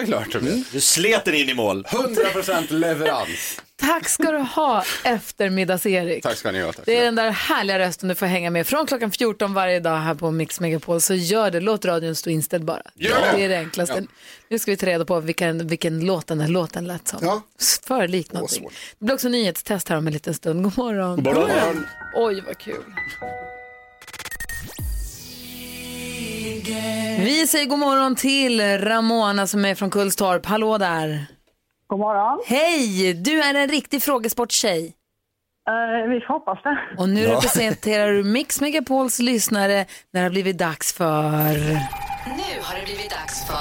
[SPEAKER 12] Såklart det blev.
[SPEAKER 3] Du slet den in i mål.
[SPEAKER 12] 100% leverans.
[SPEAKER 1] Tack ska du ha, eftermiddags-Erik.
[SPEAKER 12] Tack ska ni ha. Tack.
[SPEAKER 1] Det är den där härliga rösten du får hänga med från klockan 14 varje dag här på Mix Megapol. Så gör det, låt radion stå inställd bara.
[SPEAKER 12] Gör det!
[SPEAKER 1] Det är det enklaste.
[SPEAKER 12] Ja.
[SPEAKER 1] Nu ska vi ta reda på vilken, vilken låt den här låten lät som. Ja. För lik någonting. Det blir också nyhetstest här om en liten stund. God morgon.
[SPEAKER 12] God morgon.
[SPEAKER 1] Oj, vad kul. Vi säger god morgon till Ramona som är från Kullstorp. Hallå där.
[SPEAKER 13] God morgon.
[SPEAKER 1] Hej, du är en riktig frågesporttjej.
[SPEAKER 13] Eh, vi får hoppas det.
[SPEAKER 1] Och nu representerar du Mix Megapols lyssnare när det har blivit dags för...
[SPEAKER 10] Nu har det blivit dags för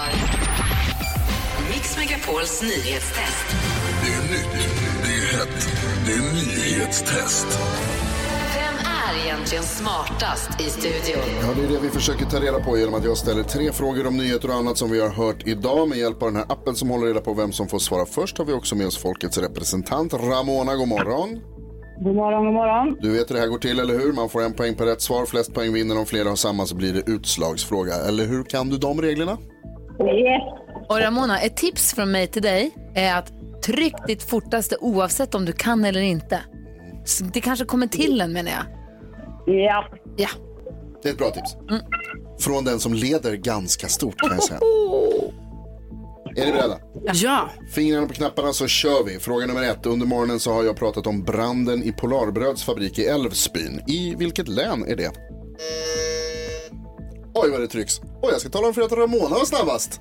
[SPEAKER 10] Mix Megapols nyhetstest.
[SPEAKER 14] Det är nytt, det är hett, det är nyhetstest.
[SPEAKER 10] Vem är egentligen smartast i studion?
[SPEAKER 2] Ja, det är det vi försöker ta reda på genom att jag ställer tre frågor om nyheter och annat som vi har hört idag. Med hjälp av den här appen som håller reda på vem som får svara först har vi också med oss folkets representant Ramona. God morgon.
[SPEAKER 13] God morgon, god morgon.
[SPEAKER 2] Du vet hur det här går till, eller hur? Man får en poäng per rätt svar. Flest poäng vinner. Om flera har samma så blir det utslagsfråga. Eller hur kan du de reglerna?
[SPEAKER 1] Och Ramona, ett tips från mig till dig är att tryck ditt fortaste oavsett om du kan eller inte. Så Det kanske kommer till en menar jag.
[SPEAKER 13] Ja.
[SPEAKER 1] Ja.
[SPEAKER 2] Det är ett bra tips. Från den som leder ganska stort kan jag säga. Är ni beredda?
[SPEAKER 4] Ja.
[SPEAKER 2] Fingrarna på knapparna så kör vi. Fråga nummer ett. Under morgonen så har jag pratat om branden i Polarbröds fabrik i Älvsbyn. I vilket län är det? Oj, vad det trycks. Oj, jag ska tala om för er att Ramona var snabbast.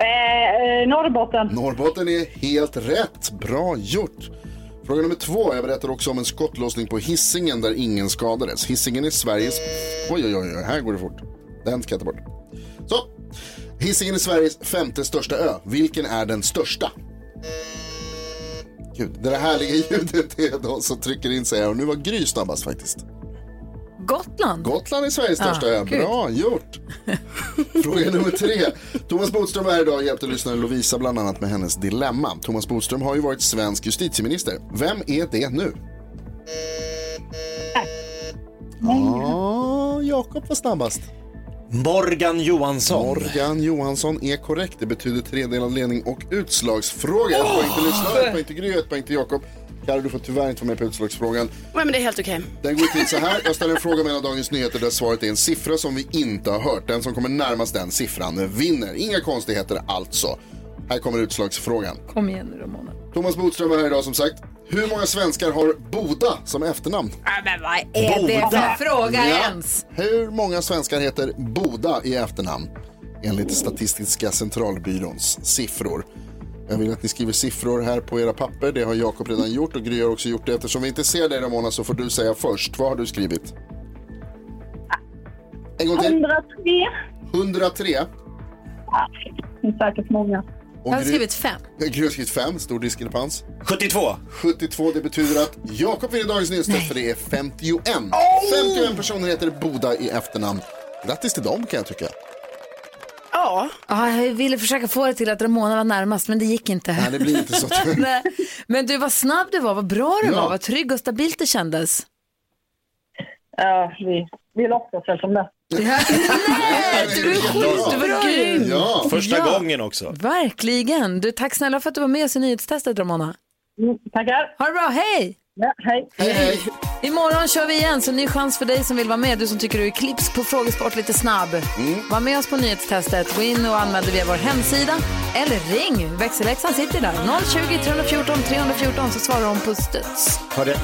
[SPEAKER 13] Eh, eh, Norrbotten.
[SPEAKER 2] Norrbotten är helt rätt. Bra gjort. Fråga nummer två. Jag berättar också om en skottlossning på Hisingen där ingen skadades. Hisingen är Sveriges... Oj, oj, oj, oj, här går det fort. Den ska jag ta bort. Så. Hisingen är Sveriges femte största ö. Vilken är den största? Gud, det där härliga ljudet är de som trycker in sig här. Och nu var Gry snabbast faktiskt.
[SPEAKER 1] Gotland.
[SPEAKER 2] Gotland är Sveriges största
[SPEAKER 1] Ah,
[SPEAKER 2] ö.
[SPEAKER 1] gud.
[SPEAKER 2] Bra gjort! Fråga nummer tre. Thomas Bodström var här idag och hjälpte lyssnaren Lovisa bland annat med hennes dilemma. Thomas Bodström har ju varit svensk justitieminister. Vem är det nu? Ja, Jakob var snabbast.
[SPEAKER 3] Morgan Johansson.
[SPEAKER 2] Morgan Johansson är korrekt. Det betyder tredelad ledning och utslagsfråga. Ett poäng till lyssnaren, ett poäng till Gry, ett poäng till Jakob. Karro, du får tyvärr inte vara med på utslagsfrågan.
[SPEAKER 4] Nej, men det är helt okej.
[SPEAKER 2] Den går till så här. Jag ställer en fråga mellan Dagens Nyheter där svaret är en siffra som vi inte har hört. Den som kommer närmast den siffran vinner. Inga konstigheter alltså. Här kommer utslagsfrågan.
[SPEAKER 1] Kom igen nu Ramona.
[SPEAKER 2] Thomas Bodström är här idag som sagt. Hur många svenskar har Boda som efternamn?
[SPEAKER 1] Men vad
[SPEAKER 2] Boda.
[SPEAKER 1] är det för fråga
[SPEAKER 2] Ja.
[SPEAKER 1] ens?
[SPEAKER 2] Hur många svenskar heter Boda i efternamn? Enligt Statistiska centralbyråns siffror. Jag vill att ni skriver siffror här på era papper. Det har Jakob redan gjort och Gry har också gjort det. Eftersom vi inte ser dig Ramona så får du säga först. Vad har du skrivit? En gång till.
[SPEAKER 13] 103.
[SPEAKER 2] 103.
[SPEAKER 13] Det är säkert många.
[SPEAKER 2] Och Jag har Gry- skrivit
[SPEAKER 1] fem.
[SPEAKER 2] Gry har skrivit 5, stor diskrepans.
[SPEAKER 3] 72.
[SPEAKER 2] 72, det betyder att Jakob vinner dagens nyhetstest för det är 51. 51 personer heter Boda i efternamn. Grattis till dem kan jag tycka.
[SPEAKER 1] Ja. jag ville försöka få det till att Ramona var närmast, men det gick inte.
[SPEAKER 2] Nej, det blir inte så.
[SPEAKER 1] Nej. men du, vad snabb du var, vad bra du
[SPEAKER 2] Ja.
[SPEAKER 1] var, vad trygg och stabilt det kändes.
[SPEAKER 13] Ja, vi, vi låtsas väl som det.
[SPEAKER 1] Nej, du är sjukt bra ju.
[SPEAKER 3] Ja, första
[SPEAKER 1] Ja.
[SPEAKER 3] gången också.
[SPEAKER 1] Verkligen. Du, tack snälla för att du var med oss i nyhetstestet, Ramona. Tackar. Ha det bra, hej! hej. hej, hej! Imorgon kör vi igen, så ny chans för dig som vill vara med. Du som tycker du är klipps på frågesport lite snabb. Var med oss på nyhetstestet. Gå in och anmäl dig via vår hemsida. Eller ring. Växelläxan sitter där. 020 314 314 så svarar hon på studs.
[SPEAKER 3] Hörde,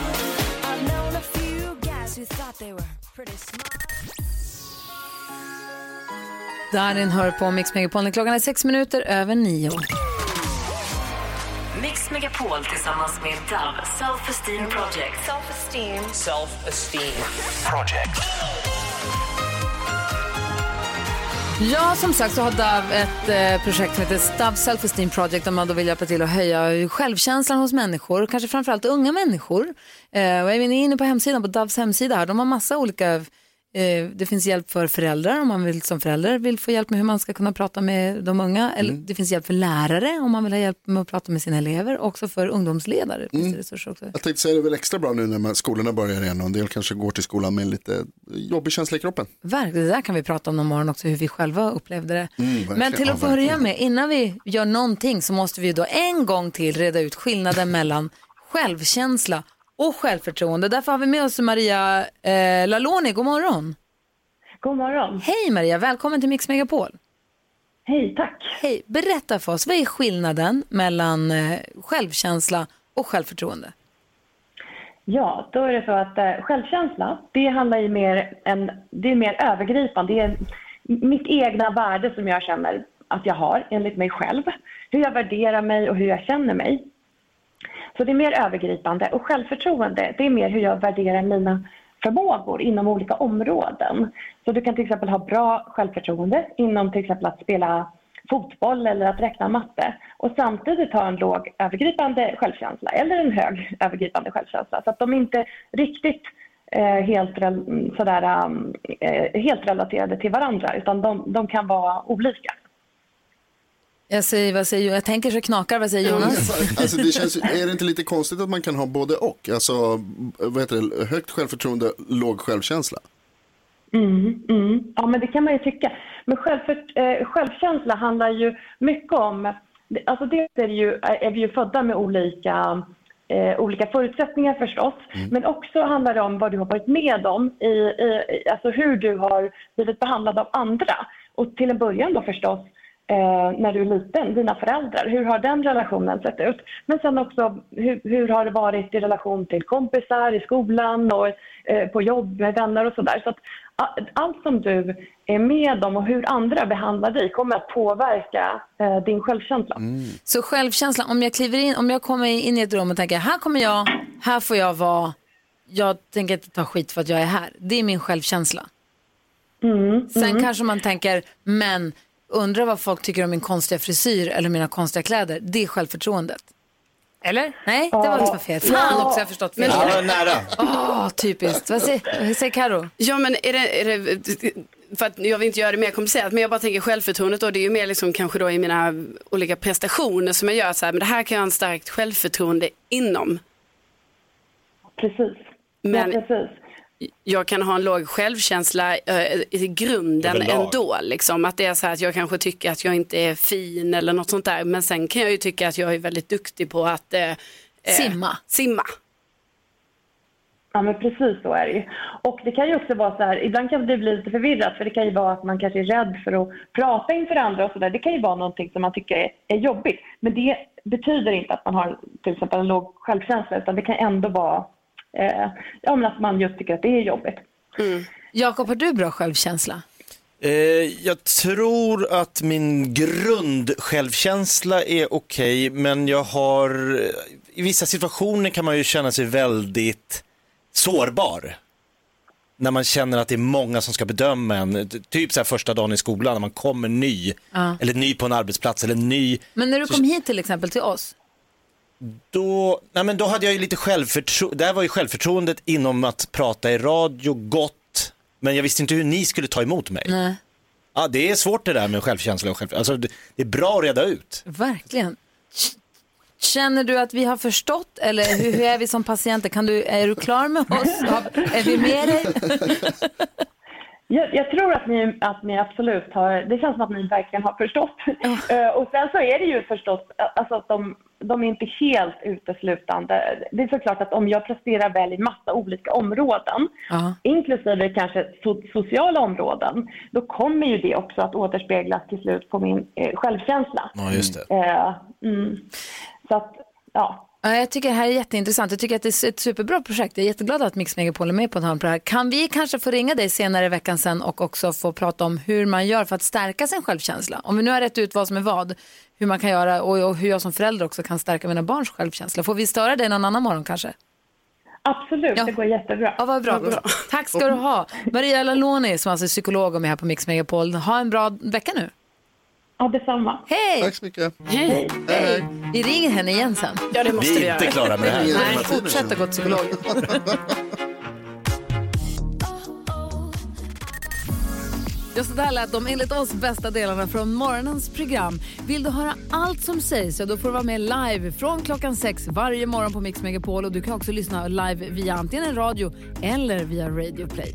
[SPEAKER 1] Darin hör på Mix Megapol. Klockan är sex minuter över nio.
[SPEAKER 10] Mix Megapol tillsammans med Dove Self Esteem Project. Self Esteem. Self Esteem.
[SPEAKER 14] Project.
[SPEAKER 1] Ja, som sagt så har DAV ett eh, projekt som heter DAV Self Esteem Project där man då vill hjälpa till att höja självkänslan hos människor, kanske framförallt unga människor. Eh, och jag är inne på hemsidan, på DAVs hemsida här, de har massa olika, eh, det finns hjälp för föräldrar om man vill som förälder vill få hjälp med hur man ska kunna prata med de unga, eller det finns hjälp för lärare om man vill ha hjälp med att prata med sina elever, också för ungdomsledare. Finns det resurser också.
[SPEAKER 2] Jag tänkte säga det är väl extra bra nu när man, skolorna börjar igen och en del kanske går till skolan med lite jobbig känsla i kroppen.
[SPEAKER 1] Verkligen, det där kan vi prata om någon morgon också, hur vi själva upplevde det.
[SPEAKER 2] Mm, verkligen.
[SPEAKER 1] Men till
[SPEAKER 2] Ja,
[SPEAKER 1] att börja
[SPEAKER 2] verkligen.
[SPEAKER 1] med, innan vi gör någonting så måste vi ju då en gång till reda ut skillnaden mellan självkänsla och självförtroende. Därför har vi med oss Maria eh, Laloni, god morgon.
[SPEAKER 13] God morgon.
[SPEAKER 1] Hej Maria, välkommen till Mix Megapol.
[SPEAKER 13] Hej, tack.
[SPEAKER 1] Hej, berätta för oss, vad är skillnaden mellan eh, självkänsla och självförtroende?
[SPEAKER 13] Ja, då är det så att eh, självkänsla, det handlar ju mer en, det är mer övergripande. Det är mitt egna värde som jag känner att jag har enligt mig själv. Hur jag värderar mig och hur jag känner mig. Så det är mer övergripande. Och självförtroende, det är mer hur jag värderar mina förmågor inom olika områden. Så du kan till exempel ha bra självförtroende inom till exempel att spela fotboll eller att räkna matte och samtidigt ha en låg övergripande självkänsla eller en hög övergripande självkänsla. Så att de inte riktigt eh, helt, rel- sådär, um, eh, helt relaterade till varandra utan de, de kan vara olika.
[SPEAKER 1] Jag, säger, vad säger, jag tänker så knakar, vad säger Jonas?
[SPEAKER 2] Alltså det känns, är det inte lite konstigt att man kan ha både och? Alltså, vad heter det, högt självförtroende, låg självkänsla.
[SPEAKER 13] Mm, mm. Ja, men det kan man ju tycka. Men självfört, eh, självkänsla handlar ju mycket om... Alltså dels är, det ju, är vi ju födda med olika, eh, olika förutsättningar förstås. Men också handlar det om vad du har varit med om, i, i, i- alltså hur du har blivit behandlad av andra. Och till en början då förstås eh, när du är liten, dina föräldrar. Hur har den relationen sett ut? Men sen också hur, hur har det varit i relation till kompisar, i skolan och eh, på jobb med vänner och sådär. Så att a- allt som du är med om och hur andra behandlar dig kommer att påverka eh, din självkänsla.
[SPEAKER 1] Så självkänslan, om jag kliver in, om jag kommer in i ett rum och tänker här kommer jag, här får jag vara, jag tänker inte ta skit för att jag är här. Det är min självkänsla. Sen kanske man tänker, men undrar vad folk tycker om min konstiga frisyr eller mina konstiga kläder. Det är självförtroendet. Eller? Nej, det var också fel. Fan också, jag har förstått fel.
[SPEAKER 4] Ja, det var
[SPEAKER 3] nära.
[SPEAKER 1] Åh, typiskt. Vad säger, vad säger Karo?
[SPEAKER 4] Ja men är det, är det, för att jag vill inte göra det mer komplicerat men jag bara tänker självförtroendet då det är ju mer liksom kanske då i mina olika prestationer som jag gör så här men det här kan jag ha en starkt självförtroende inom.
[SPEAKER 13] Precis.
[SPEAKER 4] Men
[SPEAKER 13] Ja, precis.
[SPEAKER 4] jag kan ha en låg självkänsla eh, i grunden
[SPEAKER 13] Överlag.
[SPEAKER 4] ändå liksom att det är så här att jag kanske tycker att jag inte är fin eller något sånt där men sen kan jag ju tycka att jag är väldigt duktig på att eh, eh,
[SPEAKER 1] Simma.
[SPEAKER 4] simma.
[SPEAKER 13] Ja, men precis så är det ju. Och det kan ju också vara så här, ibland kan det bli lite förvirrat för det kan ju vara att man kanske är rädd för att prata inför andra och sådär. Det kan ju vara någonting som man tycker är, är jobbigt. Men det betyder inte att man har till exempel en låg självkänsla utan det kan ändå vara eh, ja, men att man just tycker att det är jobbigt.
[SPEAKER 1] Jakob, har du bra självkänsla?
[SPEAKER 3] Eh, jag tror att min grundsjälvkänsla är okej, men jag har, eh, i vissa situationer kan man ju känna sig väldigt sårbar. När man känner att det är många som ska bedöma en, typ så här första dagen i skolan när man kommer ny,
[SPEAKER 1] Ja.
[SPEAKER 3] eller ny på en arbetsplats eller ny.
[SPEAKER 1] Men när du
[SPEAKER 3] Så-
[SPEAKER 1] kom hit till exempel till oss,
[SPEAKER 3] Då, nej men då hade jag ju lite självförtroende, där var ju självförtroendet inom att prata i radio gott, men jag visste inte hur ni skulle ta emot mig.
[SPEAKER 1] nej,
[SPEAKER 3] Ja, det är svårt det där med självkänsla och självförtroende. Alltså, det, det är bra att reda ut.
[SPEAKER 1] verkligen. Känner du att vi har förstått eller hur, hur är vi som patienter? Kan du, är du klar med oss? Har- Är vi med dig?
[SPEAKER 13] Jag, jag tror att ni, att ni absolut har, det känns som att ni verkligen har förstått. Eh, och sen så är det ju förstås, eh, alltså att de, de är inte helt uteslutande. Det är såklart att om jag presterar väl i massa olika områden,
[SPEAKER 1] Ja.
[SPEAKER 13] inklusive kanske so- sociala områden, då kommer ju det också att återspeglas till slut på min eh, självkänsla.
[SPEAKER 3] Ja, just det.
[SPEAKER 13] Eh, mm. Så att, ja.
[SPEAKER 1] Ja, jag tycker det här är jätteintressant. Jag tycker att det är ett superbra projekt. Jag är jätteglad att Mix Megapol är med på ett hörn på det här. Kan vi kanske få ringa dig senare i veckan sen och också få prata om hur man gör för att stärka sin självkänsla? Om vi nu har rätt ut vad som är vad, hur man kan göra och, och hur jag som förälder också kan stärka mina barns självkänsla. Får vi störa dig någon annan morgon kanske?
[SPEAKER 13] Absolut, det går jättebra.
[SPEAKER 1] Ja, vad bra.
[SPEAKER 13] Vad bra.
[SPEAKER 1] Tack ska du ha. Maria Laloni som alltså är psykolog och med här på Mix Megapol. Ha en bra vecka nu.
[SPEAKER 13] Ja, detsamma.
[SPEAKER 1] Hej!
[SPEAKER 2] Tack så mycket.
[SPEAKER 1] Hej. Hej. Vi ringer henne igen sen.
[SPEAKER 4] Ja, det
[SPEAKER 3] måste Vi är vi inte göra. klara med det här.
[SPEAKER 1] Nej, fortsätt att gå till psykologen. Ja, så där lät de enligt oss bästa delarna från morgonens program. Vill du höra allt som sägs så då får du vara med live från klockan sex varje morgon på Mix Megapol. Och du kan också lyssna live via antingen radio eller via Radio Play.